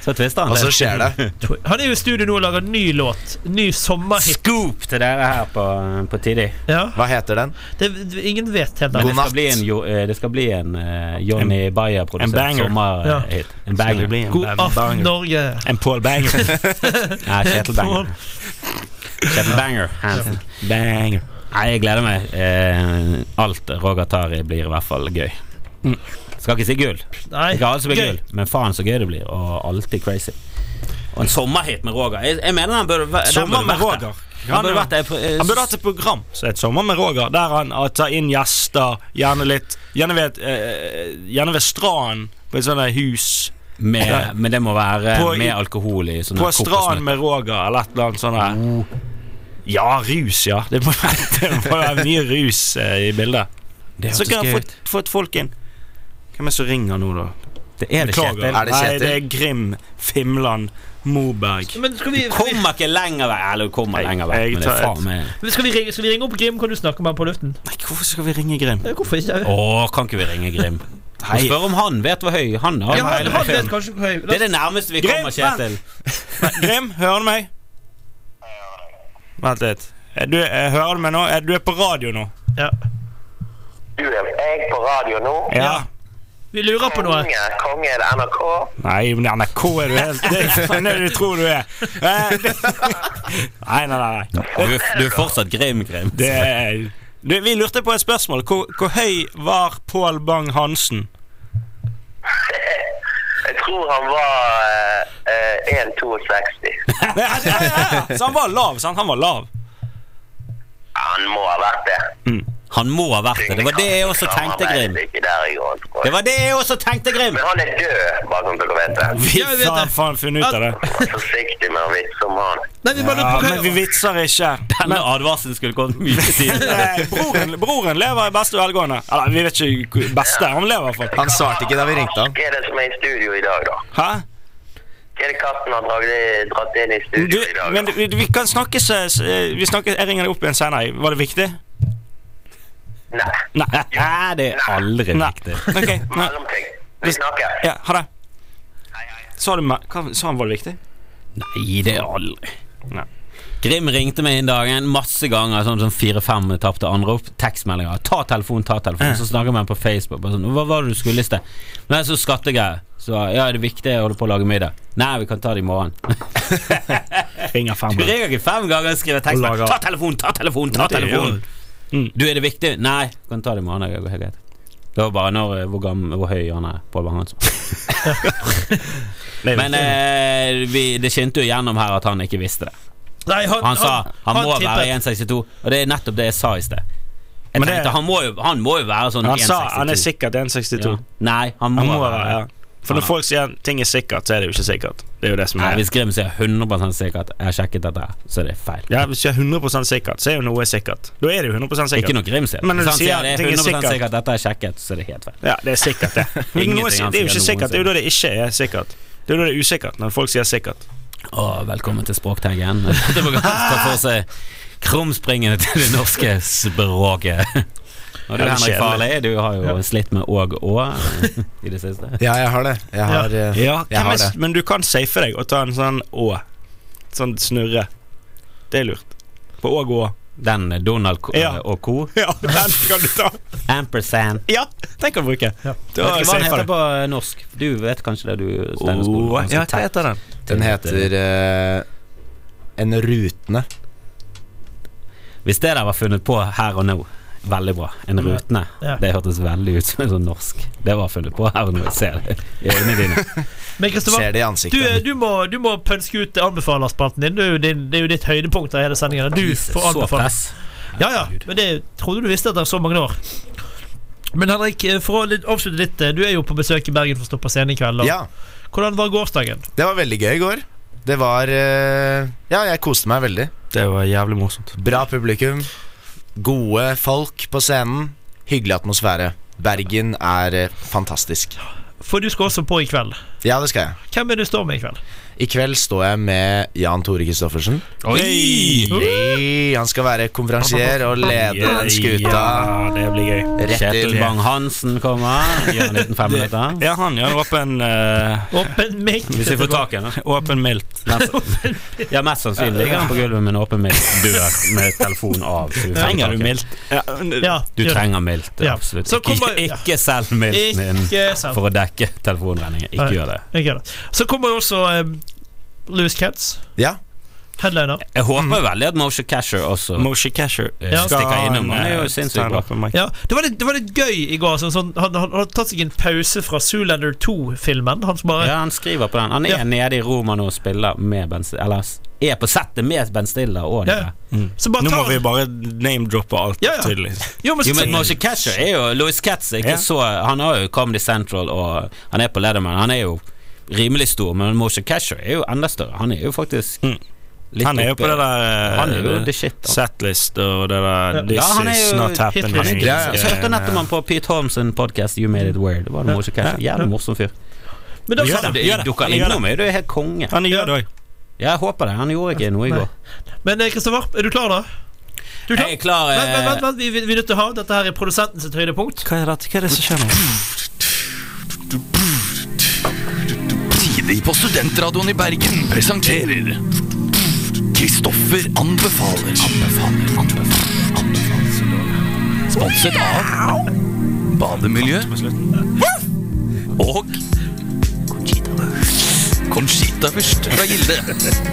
S3: Så twister han
S4: og så
S3: det.
S4: skjer det.
S2: Han er jo i studio nå og lager ny låt. Ny sommerhit.
S3: Scoop til dere her på, på tidlig.
S2: Ja,
S4: Hva heter den?
S2: det, det, ingen vet helt
S3: Men
S2: ennå.
S3: det skal
S4: natt.
S3: bli en, jo, eh, det skal bli en eh, Johnny
S5: en
S3: Bayer-produsert
S5: banger.
S3: sommerhit. En banger.
S2: God aften, Norge.
S5: En Paul Banger.
S3: Nei, Kjetil Banger. Kjetil Banger Hansen.
S5: Banger.
S3: Nei, jeg gleder meg. Eh, alt Roger tar i, blir i hvert fall gøy. Skal ikke si gull.
S2: Nei,
S3: altså Ikke alt som blir
S2: gøy.
S3: gull, men faen så gøy det blir. Og alltid crazy. Og en sommerhit med Roger. Jeg, jeg mener den burde væ- den
S5: Sommer
S3: burde
S5: med
S3: vært der.
S5: Roger.
S3: Han burde vært der. på, eh,
S5: Han burde hatt et program som het Sommer med Roger, der han eh, tar inn gjester, gjerne litt Gjerne ved, et, eh, gjerne ved stranden, på et sånt der hus.
S3: Sånn Med, men det må være
S5: På-
S3: med alkohol i sånne
S5: På stranden med Roger, eller et eller annet sånt. der. Ja, rus, ja. Det må være, det må være mye rus eh, i bildet.
S3: Det
S5: Så
S3: hørtes
S5: kan
S3: gøy
S5: jeg
S3: ut.
S5: få, få et folk inn. Hvem er det som ringer nå, da?
S3: Det er det,
S5: Beklager.
S3: Kjetil.
S4: Er det
S5: Nei,
S4: Kjetil?
S5: det er Grim Fimland Moberg.
S2: Men skal vi, skal vi,
S3: Kommer ikke lenger vei. Eller du kommer
S5: Nei,
S3: lenger vei.
S5: jeg
S3: Men det er
S5: tar et-
S3: faen meg
S2: men skal vi, ringe, skal vi ringe opp Grim? Kan du snakke med han på luften?
S5: Nei, hvorfor skal vi ringe Grim?
S2: Eh, Hvorfor ikke?
S3: Å, kan ikke vi ringe Grim?
S5: Hei.
S3: Og Spør om han vet hvor høy han er.
S2: Ja, han, han vet
S3: det
S2: kanskje hva jeg-
S3: er det nærmeste vi
S5: Grim,
S3: kommer, Kjetil.
S5: Grim, hører du meg? Vent litt. Eh, Du, eh, hører du meg nå? Eh, Du er på radio nå.
S2: Ja.
S7: Du er jeg på radio nå.
S5: Ja.
S2: Vi lurer på noe.
S7: Konge, konge er det NRK.
S5: Nei, men NRK er du helt Det er faen det du tror du er. Eh, det- Nei, nei, nei. nei.
S3: Du, er- du er fortsatt Grim, Grim.
S5: Det er du, vi lurte på et spørsmål. Hvor, hvor høy var Pål Bang-Hansen?
S7: Jeg tror han var eh, eh, 1,62.
S5: Ja, ja, ja. Så han var lav, sant? Han var lav.
S7: Han må ha vært det.
S3: Han må ha vært det. Det var det jeg også tenkte, Grim.
S7: Samarbeidet ikke der i går.
S3: Det var det jeg også tenkte, Grim.
S7: Men han er død, bare sånn at dere vet det.
S5: Vi
S2: Ja, jeg vet
S5: har
S2: det.
S5: faen funnet ut av det.
S7: Vær forsiktig med å vitse om han.
S2: Nei, vi bare lurer
S5: Ja,
S2: på
S5: men vi
S2: hva
S5: vitser ikke.
S3: Denne advarselen skulle kommet mye tidligere.
S5: Nei, broren, broren lever i beste velgående. Eller, vi vet ikke hvor- beste. Han lever i hvert fall.
S4: Han svarte ikke da vi ringte han.
S7: Hva er det som er i studio i dag, da?
S5: Hæ?
S7: Hva er det katten har dratt, dratt inn i
S5: Du,
S7: studio i dag?
S5: men
S7: da?
S5: vi, vi kan snakkes eh, vi snakkes, Jeg ringer deg opp igjen senere. Var det viktig?
S7: Nei.
S5: Nei.
S3: Nei, det er aldri
S5: Nei.
S3: viktig.
S5: Ok, nei.
S7: Mellomting. Vi snakkes.
S5: Ja, ha det. Sa du meg hva- Sa han var det viktig?
S3: Nei, det er aldri.
S5: Nei.
S3: Grim ringte meg en dag en masse ganger, sånn som fire-fem tapte anrop. Tekstmeldinger. Ta telefon, ta telefon. Så snakker vi med han på Facebook. Bare sånn, Hva var det du skulle i sted? Nei, så skattegreier. Så ja, er det viktig? Jeg holder på å lage middag. Nei, vi kan ta det i morgen.
S5: Ringer fem
S3: Du ringer ikke fem ganger og skriver tekstmelding.
S5: lager-
S3: Ta telefon, ta telefon, ta
S5: det er jo- Mm.
S3: telefon! Du, er det viktig? Nei, vi kan ta det i morgen. Det går helt greit. Det var bare når, eh, hvor, gammel, hvor høy han er. Pål Bang Hansen. Men eh, vi, det skinte jo gjennom her at han ikke visste det.
S2: Nei,
S3: Han sa han må
S2: tippet.
S3: være 1,62, og det er nettopp det jeg sa i sted. Jeg
S5: Men det-
S3: tenkte, han, må jo, han må jo være sånn
S5: Han sa han er
S3: 1,62.
S5: sikkert 1,62.
S3: Ja. Nei, han må,
S5: Han må
S3: være
S5: være, ja. For når
S3: Ja.
S5: folk sier ting er sikkert, så er det jo ikke sikkert. Det er jo det som
S3: Nei,
S5: er
S3: Hvis Grim sier 100 sikker at jeg har sjekket dette, her, så er det feil.
S5: ja, Hvis du er 100 sikkert, så er jo noe sikkert. Da er det jo 100 sikkert.
S3: Ikke når Grim sier det.
S5: Men når
S3: Hvis
S5: du
S3: han
S5: sier
S3: sier det er
S5: ting er
S3: 100
S5: sikkert.
S3: sikkert at dette er sjekket, så er det helt feil.
S5: Ja, det er sikkert, det. Men
S3: Ingenting
S5: noe er,
S3: han
S5: det er jo
S3: sier
S5: ikke sikkert. Det er jo da
S3: noensinne.
S5: det ikke er sikkert. Det er jo da det er usikkert, når folk sier sikkert.
S3: Å, velkommen til Språktaggen. Det var ganske ta for seg krumspringene til det norske språket. Og du,
S5: Ja, det er
S3: Henrik
S5: kjedelig.
S3: Farley, du har jo slitt med åg og å i det siste.
S4: Ja, jeg har det. Jeg har, eh, jeg
S5: hvem
S4: har
S5: er s-
S4: det.
S5: Men du kan safe deg og ta en sånn å. Sånn snurre. Det er lurt. På å gå.
S3: Den Donald K
S5: Ja.
S3: og co.
S5: Ja, den kan du ta.
S3: Ampersand.
S5: Ja, den kan du bruke.
S3: Vet
S5: Da
S3: ikke hva den
S5: safer
S3: heter
S5: du.
S3: på norsk. Du vet kanskje det, du Steinar
S5: Å,
S3: Skolen.
S5: ja, hva heter den?
S4: Den heter eh, En rutne.
S3: Hvis det der var funnet på her og nå, veldig bra. En rutne.
S2: Ja.
S3: Det hørtes veldig ut som en sånn norsk. Det var funnet på her og nå. Jeg ser det i øynene dine.
S2: Men Kristoffer,
S4: Ser det i
S2: du,
S4: ansiktet.
S2: du, må- du må pønske ut anbefalerspalten din. Det er jo din- det er jo ditt høydepunkt av hele sendingen. Du får
S3: Så
S2: anbefale.
S3: press.
S2: Ja, ja, men det trodde du visste etter så mange år. Men Henrik, eh, for å litt, avslutte litt, eh, du er jo på besøk i Bergen for å stå på scenen i kveld. da.
S4: Ja,
S2: Hvordan var gårsdagen?
S4: det var veldig gøy i går. Det var eh, Ja, jeg koste meg veldig.
S5: Det var jævlig morsomt.
S4: Bra publikum. Gode folk på scenen. Hyggelig atmosfære. Bergen er eh, fantastisk.
S2: For du skal også på i kveld.
S4: Ja, det skal jeg.
S2: Hvem er det du står med i kveld?
S4: I kveld står jeg med Jan Tore Christoffersen.
S5: Oi!
S4: Hey, han skal være konferansier og lede den skuta
S5: Ja, det blir gøy.
S4: rett
S3: Kjetil
S4: til
S3: Bang-Hansen kommer. Gjør en liten femminutter.
S5: Ja, han gjør åpen uh,
S2: Åpen mic.
S3: Hvis vi får tak i ham.
S5: Åpen milt.
S3: Ja, mest sannsynlig ligger han på gulvet med en åpen milt dør med telefon av. så vi får tak i han.
S5: Ja,
S2: Ja,
S3: Du
S2: gjør det.
S3: trenger milt.
S2: Ja.
S3: Absolutt.
S2: Så
S3: Ikke,
S2: kommer- ja.
S3: ikke selg milten din
S2: Ikke sant.
S3: for å dekke telefonregningen. Ikke
S2: Nei.
S3: gjør det.
S2: Jeg gjør det. Så kommer jo også um, Louis Kentz,
S4: Ja,
S2: headliner.
S3: Jeg
S2: Mm.
S3: håper veldig at Moshe Casher også
S5: Moshe Casher
S3: eh, stikker innom. Han er
S5: eh,
S3: jo sinnssykt bra.
S2: Ja, det var, litt, det var litt gøy i går. Sånn, sånn, han, han har tatt seg en pause fra Zoolander 2-filmen. Han som bare
S3: Ja, han skriver på den. Han er
S2: Ja.
S3: nede i Roma nå og spiller med Ben Stiller. Eller s- er på settet med Ben Stiller og
S2: Ja,
S3: det.
S2: ja. Så bare
S5: Mm. Nå må
S2: tar
S5: vi bare name-droppe alt,
S2: Ja, ja.
S5: tydelig.
S2: Jo, men,
S3: Jo, men
S2: så-
S3: Moshe Casher er jo Louis Katz er ikke
S5: Ja.
S3: så Han har jo Comedy Central, og han er på Leatherman. Han er jo rimelig stor, men Moshe Casher er jo enda større. Han er jo faktisk
S5: Mm.
S3: litt
S5: Han er jo
S3: oppe-
S5: på det der eh,
S3: Han er jo the shit. altså.
S5: Setlist og det der
S2: Ja.
S5: This
S3: Ja, han er
S5: is
S3: jo
S5: not happening.
S2: Hitler.
S3: Ja, ja. Så hørte jeg nettopp han på Pete Holmes' podcast You Made It Weird. Det var det Moshe Casher.
S5: Ja.
S3: Jævlig morsom fyr.
S2: Men da
S3: Gjør det. Gjør det. Dukker
S5: Dukker innom,
S3: innom, du er helt konge.
S5: Han gjør det òg.
S3: Ja, jeg håper det. Han gjorde ikke noe i
S2: Nei.
S3: går.
S2: Men eh, Kristoffer, er du klar da? Du er klar?
S3: Jeg er klar.
S2: Vent, vent, vent,
S3: eh,
S2: vent. Vi, vi, vi er nødt til å ha Dette her er produsenten sitt høydepunkt.
S5: Hva er det, hva er det som skjer nå?
S8: Tidlig på Studentradioen i Bergen presenterer Kristoffer anbefaler. Anbefaler, anbefaler, anbefaler. Sponset av Bademiljø og Conchitawurst fra Gilde.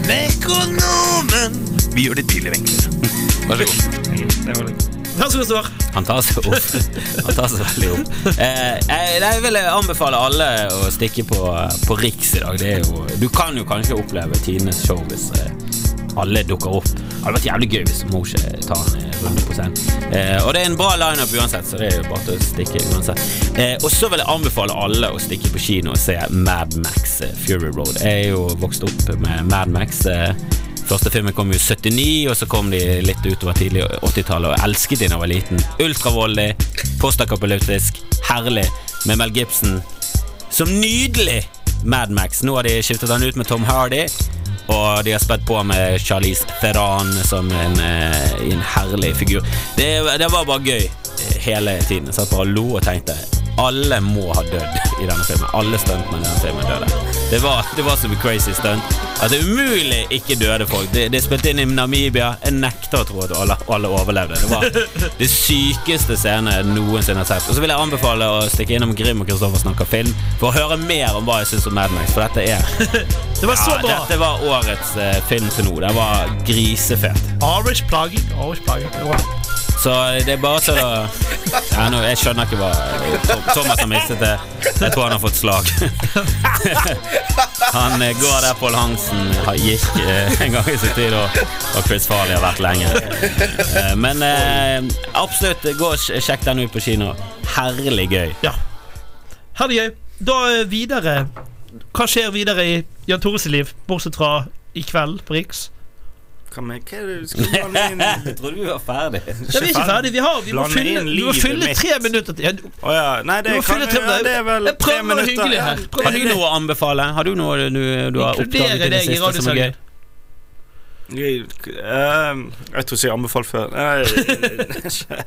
S8: Mekonomen. Vi gjør ditt tidligere enklere. Vær så god.
S2: Vær så god, Kristoffer.
S3: Han tar seg opp. Han tar seg veldig opp. Eh, jeg, jeg vil anbefale alle å stikke på, på Riks i dag. Det er jo, du kan jo kanskje oppleve tidenes show hvis eh, alle dukker opp. Det hadde vært jævlig gøy hvis Moshe tar en runde på scenen. Eh, og det er en bra lineup uansett, så det er jo bare til å stikke uansett. Eh, og så vil jeg anbefale alle å stikke på kino og se Mad Max eh, Fury Road. Jeg er jo vokst opp med Mad Max. Eh, Første filmen kom jo i 79, og så kom de litt utover tidlig 80-tallet. Og jeg elsket de da jeg var liten. Ultravoldelig, postakapolitisk, herlig, med Mel Gibson. Som nydelig Mad Max. Nå har de skiftet han ut med Tom Hardy, og de har spedd på med Charlize Theron som en, eh, i en herlig figur. Det, det var bare gøy eh, hele tiden. Jeg satt bare og lo og tenkte alle må ha dødd i denne filmen. Alle stuntmenn i denne filmen døde. Det var, det var så crazy stunt at det er umulig ikke døde folk. Det, det er spilt inn i Namibia. Jeg nekter å tro at alle, alle overlevde. Det var det sykeste scenen jeg noensinne har sett. Og så vil jeg anbefale å stikke innom Grim og Kristoffer snakker film for å høre mer om hva jeg syns om Mad Max, for dette er
S2: Det var så
S3: ja,
S2: bra.
S3: Dette var årets eh, film til nå. Den var grisefet.
S2: Arish plaging. Arish plaging. Det var-
S3: Så det er bare til å ja, nå, Jeg skjønner ikke hva Tom- Thomas har mistet det. Jeg tror han har fått slag. Han eh, går der Pål Hansen har- gikk eh, en gang i sin tid, og, og Chris Farley har vært lenge. Eh, Men eh, absolutt, gå og sj- sjekk den ut på kino. Herlig gøy.
S2: Ja. Ha det gøy. Da eh, videre. Hva skjer videre i Jan Tores liv, bortsett fra i kveld på Riks?
S5: Hva med- hva er det du skal blande inn?
S2: eh,
S3: Jeg trodde vi var ferdig.
S2: Ja, vi er ikke ferdig. Vi, har, vi må
S5: Blande
S2: fylle,
S5: inn
S2: vi må
S5: livet
S2: fylle
S5: mitt.
S2: tre minutter til. Ja, du-
S5: Å ja. Nei,
S2: Du
S5: det
S2: må
S5: kan
S2: fylle
S5: vi
S2: til
S5: gjøre.
S2: deg.
S5: Det er vel
S2: Jeg
S5: tre
S2: prøver å være
S5: minutter.
S2: hyggelig
S5: Ja.
S2: her. Prøv å
S3: Har
S2: være
S3: du
S2: hyggelig.
S3: noe å anbefale? Har du noe du, du har oppdaget i
S2: Inkludere
S3: det
S2: deg i
S3: siste som er gøy?
S2: radiosangen.
S5: Jeg, ehm, jeg tror ikke jeg anbefalte før.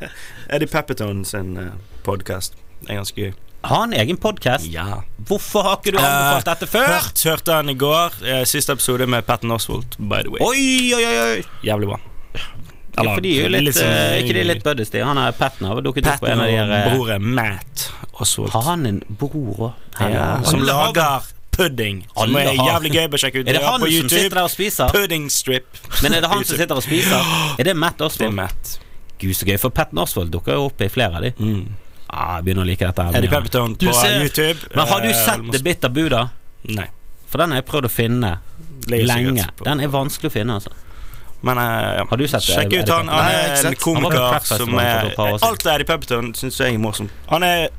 S5: Eh, Eddie Pepperton sin uh, podkast. Det er ganske gøy.
S3: Har han egen podkast?
S5: Ja.
S3: Hvorfor har ikke du anbefalt dette før?
S5: Hørt, hørte han i går. eh, siste episode med Patten Oswald, by the way.
S3: Oi, oi, oi, oi.
S5: Jævlig bra.
S3: Ja, for de er jo litt,
S5: sånn-
S3: eh, ikke de litt buddies, de? Han er Patten har vel dukket opp på en
S5: Patton
S3: av de her
S5: og
S3: eh,
S5: broren Matt Oswald.
S3: Har han en bror òg?
S5: Ja, som
S2: Alle har-
S5: lager pudding. Som
S3: Alle
S5: er
S3: har-
S5: jævlig gøy å sjekke ut.
S3: Er det
S5: Ja,
S3: han
S5: på
S3: som
S5: YouTube.
S3: sitter der og spiser?
S5: Pudding strip.
S3: Men er det han som sitter og spiser? Er det Matt
S5: Det er
S3: Oswald?
S5: Matt.
S3: Gud, så gøy, for Patten Oswald dukker jo opp i flere av de.
S5: Mm.
S3: Ah, jeg begynner å like dette. her
S5: Eddie
S3: mye.
S5: Pepperton
S2: Du
S5: på
S2: ser-
S5: YouTube.
S3: Men har du
S5: Eh,
S3: sett The Bitter Buddha?
S5: Nei.
S3: For den har jeg prøvd å finne
S5: Ligger sikkert
S3: lenge.
S5: på-
S3: Den er vanskelig å finne, altså.
S5: Men eh, ja.
S3: Har du sett det?
S5: Sjekk ut han.
S4: Nei, jeg har
S5: Han er
S4: ikke
S5: en
S4: sett.
S3: Han var på
S5: komiker
S3: Crackfest
S5: som
S3: for
S5: er
S3: et par år siden.
S5: Alt det Eddie Pepperton syns jeg er morsomt. Han er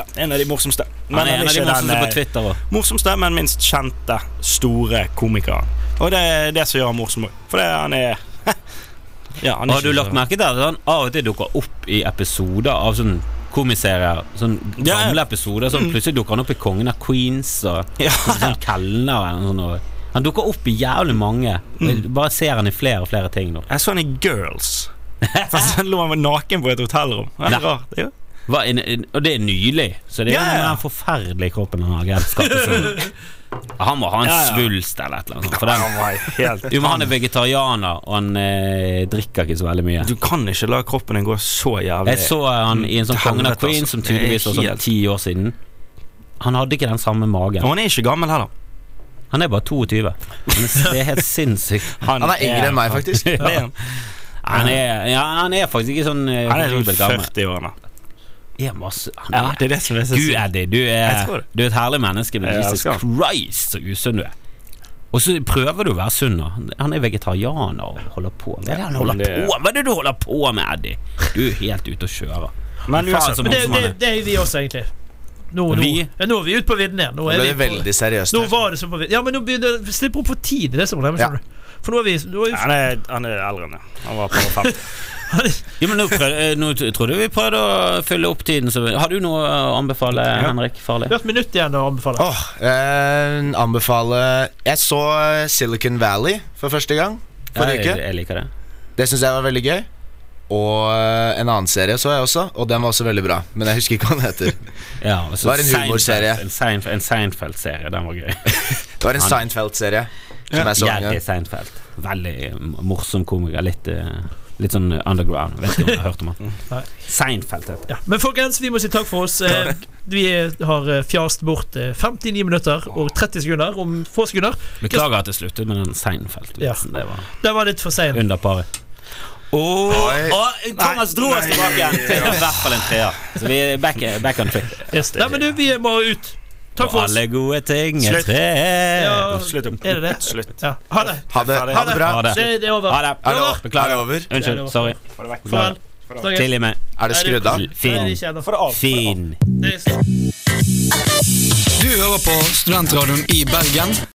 S5: ja, en av de morsomste. Men
S3: Han er en av de
S5: ikke den,
S3: morsomste
S5: eh,
S3: på Twitter òg.
S5: morsomste, men minst kjente, store komikeren. Og det er det som gjør han morsom òg. For det, han er ja, han er
S3: Har du
S5: ikke
S3: lagt
S5: så-
S3: merke til at han av og til dukker opp i episoder av sånn komiserier? Sånn
S5: Ja, Mm. ja.
S3: gamle episoder. Sånn, plutselig dukker han opp i Kongen av Queens og
S5: Ja.
S3: sånn Kelner eller noe sånt. og- Han dukker opp i jævlig mange.
S5: Mm.
S3: Jeg Bare ser han i flere og flere ting nå.
S5: Jeg så han i Girls. For så lå han naken på et hotellrom. Det
S3: Nei.
S5: er rart. det er jo-
S3: Hva, en, en, og det er nylig, så det er jo
S5: Ja, ja,
S3: noe med
S5: ja.
S3: den forferdelige kroppen han har. Gert Skappe, som- Han må ha en
S5: Ja, ja.
S3: svulst eller et eller annet. sånt, For den,
S5: Han var helt
S3: jo, men han er vegetarianer, og han eh, drikker ikke så veldig mye.
S5: Du kan ikke la kroppen din gå så jævlig
S3: Jeg så han i en sånn
S5: Helvete,
S3: Kongen av
S5: altså.
S3: Queen som tydeligvis var
S5: Det er
S3: sånn ti år siden. Han hadde ikke den samme magen.
S5: Og han er ikke gammel heller.
S3: Han er bare 22. Han er, det er helt sinnssykt.
S4: Han er yngre enn meg, faktisk.
S5: Det er han.
S3: Han er, ja, han er faktisk ikke sånn eh,
S5: Han er sånn
S3: horribelt gammel.
S5: 40-årene.
S3: Er masse, han
S5: Ja,
S3: er,
S5: det er det som er så
S3: Gud, Eddie, du
S5: Jeg
S3: er,
S5: tror det.
S3: du er et herlig menneske, men
S5: Jeg
S3: Jesus
S5: elsker
S3: Christ, så usunn du er. Og så prøver du å være sunn. da. Han er vegetarianer og holder på. Hva er det han
S5: men
S3: holder
S5: det-
S3: på Hva er det du holder på med, Eddie? Du er helt ute å kjøre.
S5: Men uansett,
S3: så
S2: Men det,
S3: morsom han
S2: det,
S3: er.
S2: det er vi også, egentlig. Nå, nå.
S3: Vi?
S2: Ja, nå er vi ute på vidden igjen. Nå,
S4: Nå
S2: er
S4: ble
S2: vi
S4: det
S2: på-
S4: veldig seriøst.
S2: nå
S4: her.
S2: var det så på vidden. Ja, men nå begynner Slipper opp for tid. Det er det som er problemet.
S4: Ja.
S2: skjønner du. For nå er vi, nå er vi
S5: Han er, han er eldre enn det. Han var på fem.
S3: Ja, men nå, prøv, eh, nå t- trodde vi prøvde å fylle opp tiden. Så har du noe å anbefale, Henrik Farley?
S2: Vi har et minutt igjen å anbefale.
S4: Åh, eh, anbefale Jeg så eh, Silicon Valley for første gang forrige
S3: jeg,
S4: uke.
S3: jeg liker det.
S4: Det syns jeg var veldig gøy. Og eh, en annen serie så jeg også, og den var også veldig bra. Men jeg husker ikke hva den heter.
S3: Ja, og så
S4: Var en
S3: Seinfeld-
S4: humorserie.
S3: En, Seinf en Seinfeld-serie. Den var gøy.
S4: Det var en Seinfeld-serie. Som jeg så en
S3: Jerry
S4: gang.
S3: Seinfeld. Veldig eh, morsom komiker. Litt, eh, litt sånn underground. Vet ikke om du har hørt om
S2: Nei.
S3: han. Seinfeld heter
S2: Ja. Men folkens, vi må si takk for oss. Eh, Vi eh, har eh, fjast bort eh, 59 minutter og 30 sekunder om få sekunder.
S3: Beklager at jeg sluttet med den Seinfeld-vitsen. Det var
S2: Den var litt for sein.
S3: under paret. Oh,
S4: Oi.
S3: Thomas dro oss tilbake igjen! Det er I hvert fall en treer. Så vi er back, back on track.
S2: Yes. Nei, men du, vi må ut. Takk
S3: Og
S2: for oss.
S3: alle gode ting er
S5: Slutt.
S3: tre.
S2: Ja,
S5: Slutt opp.
S2: er det det?
S5: Slutt.
S2: Ja. Ha det.
S4: Ha det, ha det bra.
S3: Ha det.
S2: Det, det er over.
S3: Ha det.
S4: Er det over? Er
S3: Beklager.
S4: det over?
S2: Ja, det var-
S3: Unnskyld. Sorry.
S5: Få det vekk.
S2: Farvel. Snakkes.
S3: Tilgi meg.
S4: Er det skrudd av?
S2: Nei, det er
S3: Fin.
S2: ikke ennå.
S5: Få det av.
S3: Fin.
S2: Det er-
S8: Du hører på Studentradioen i Bergen,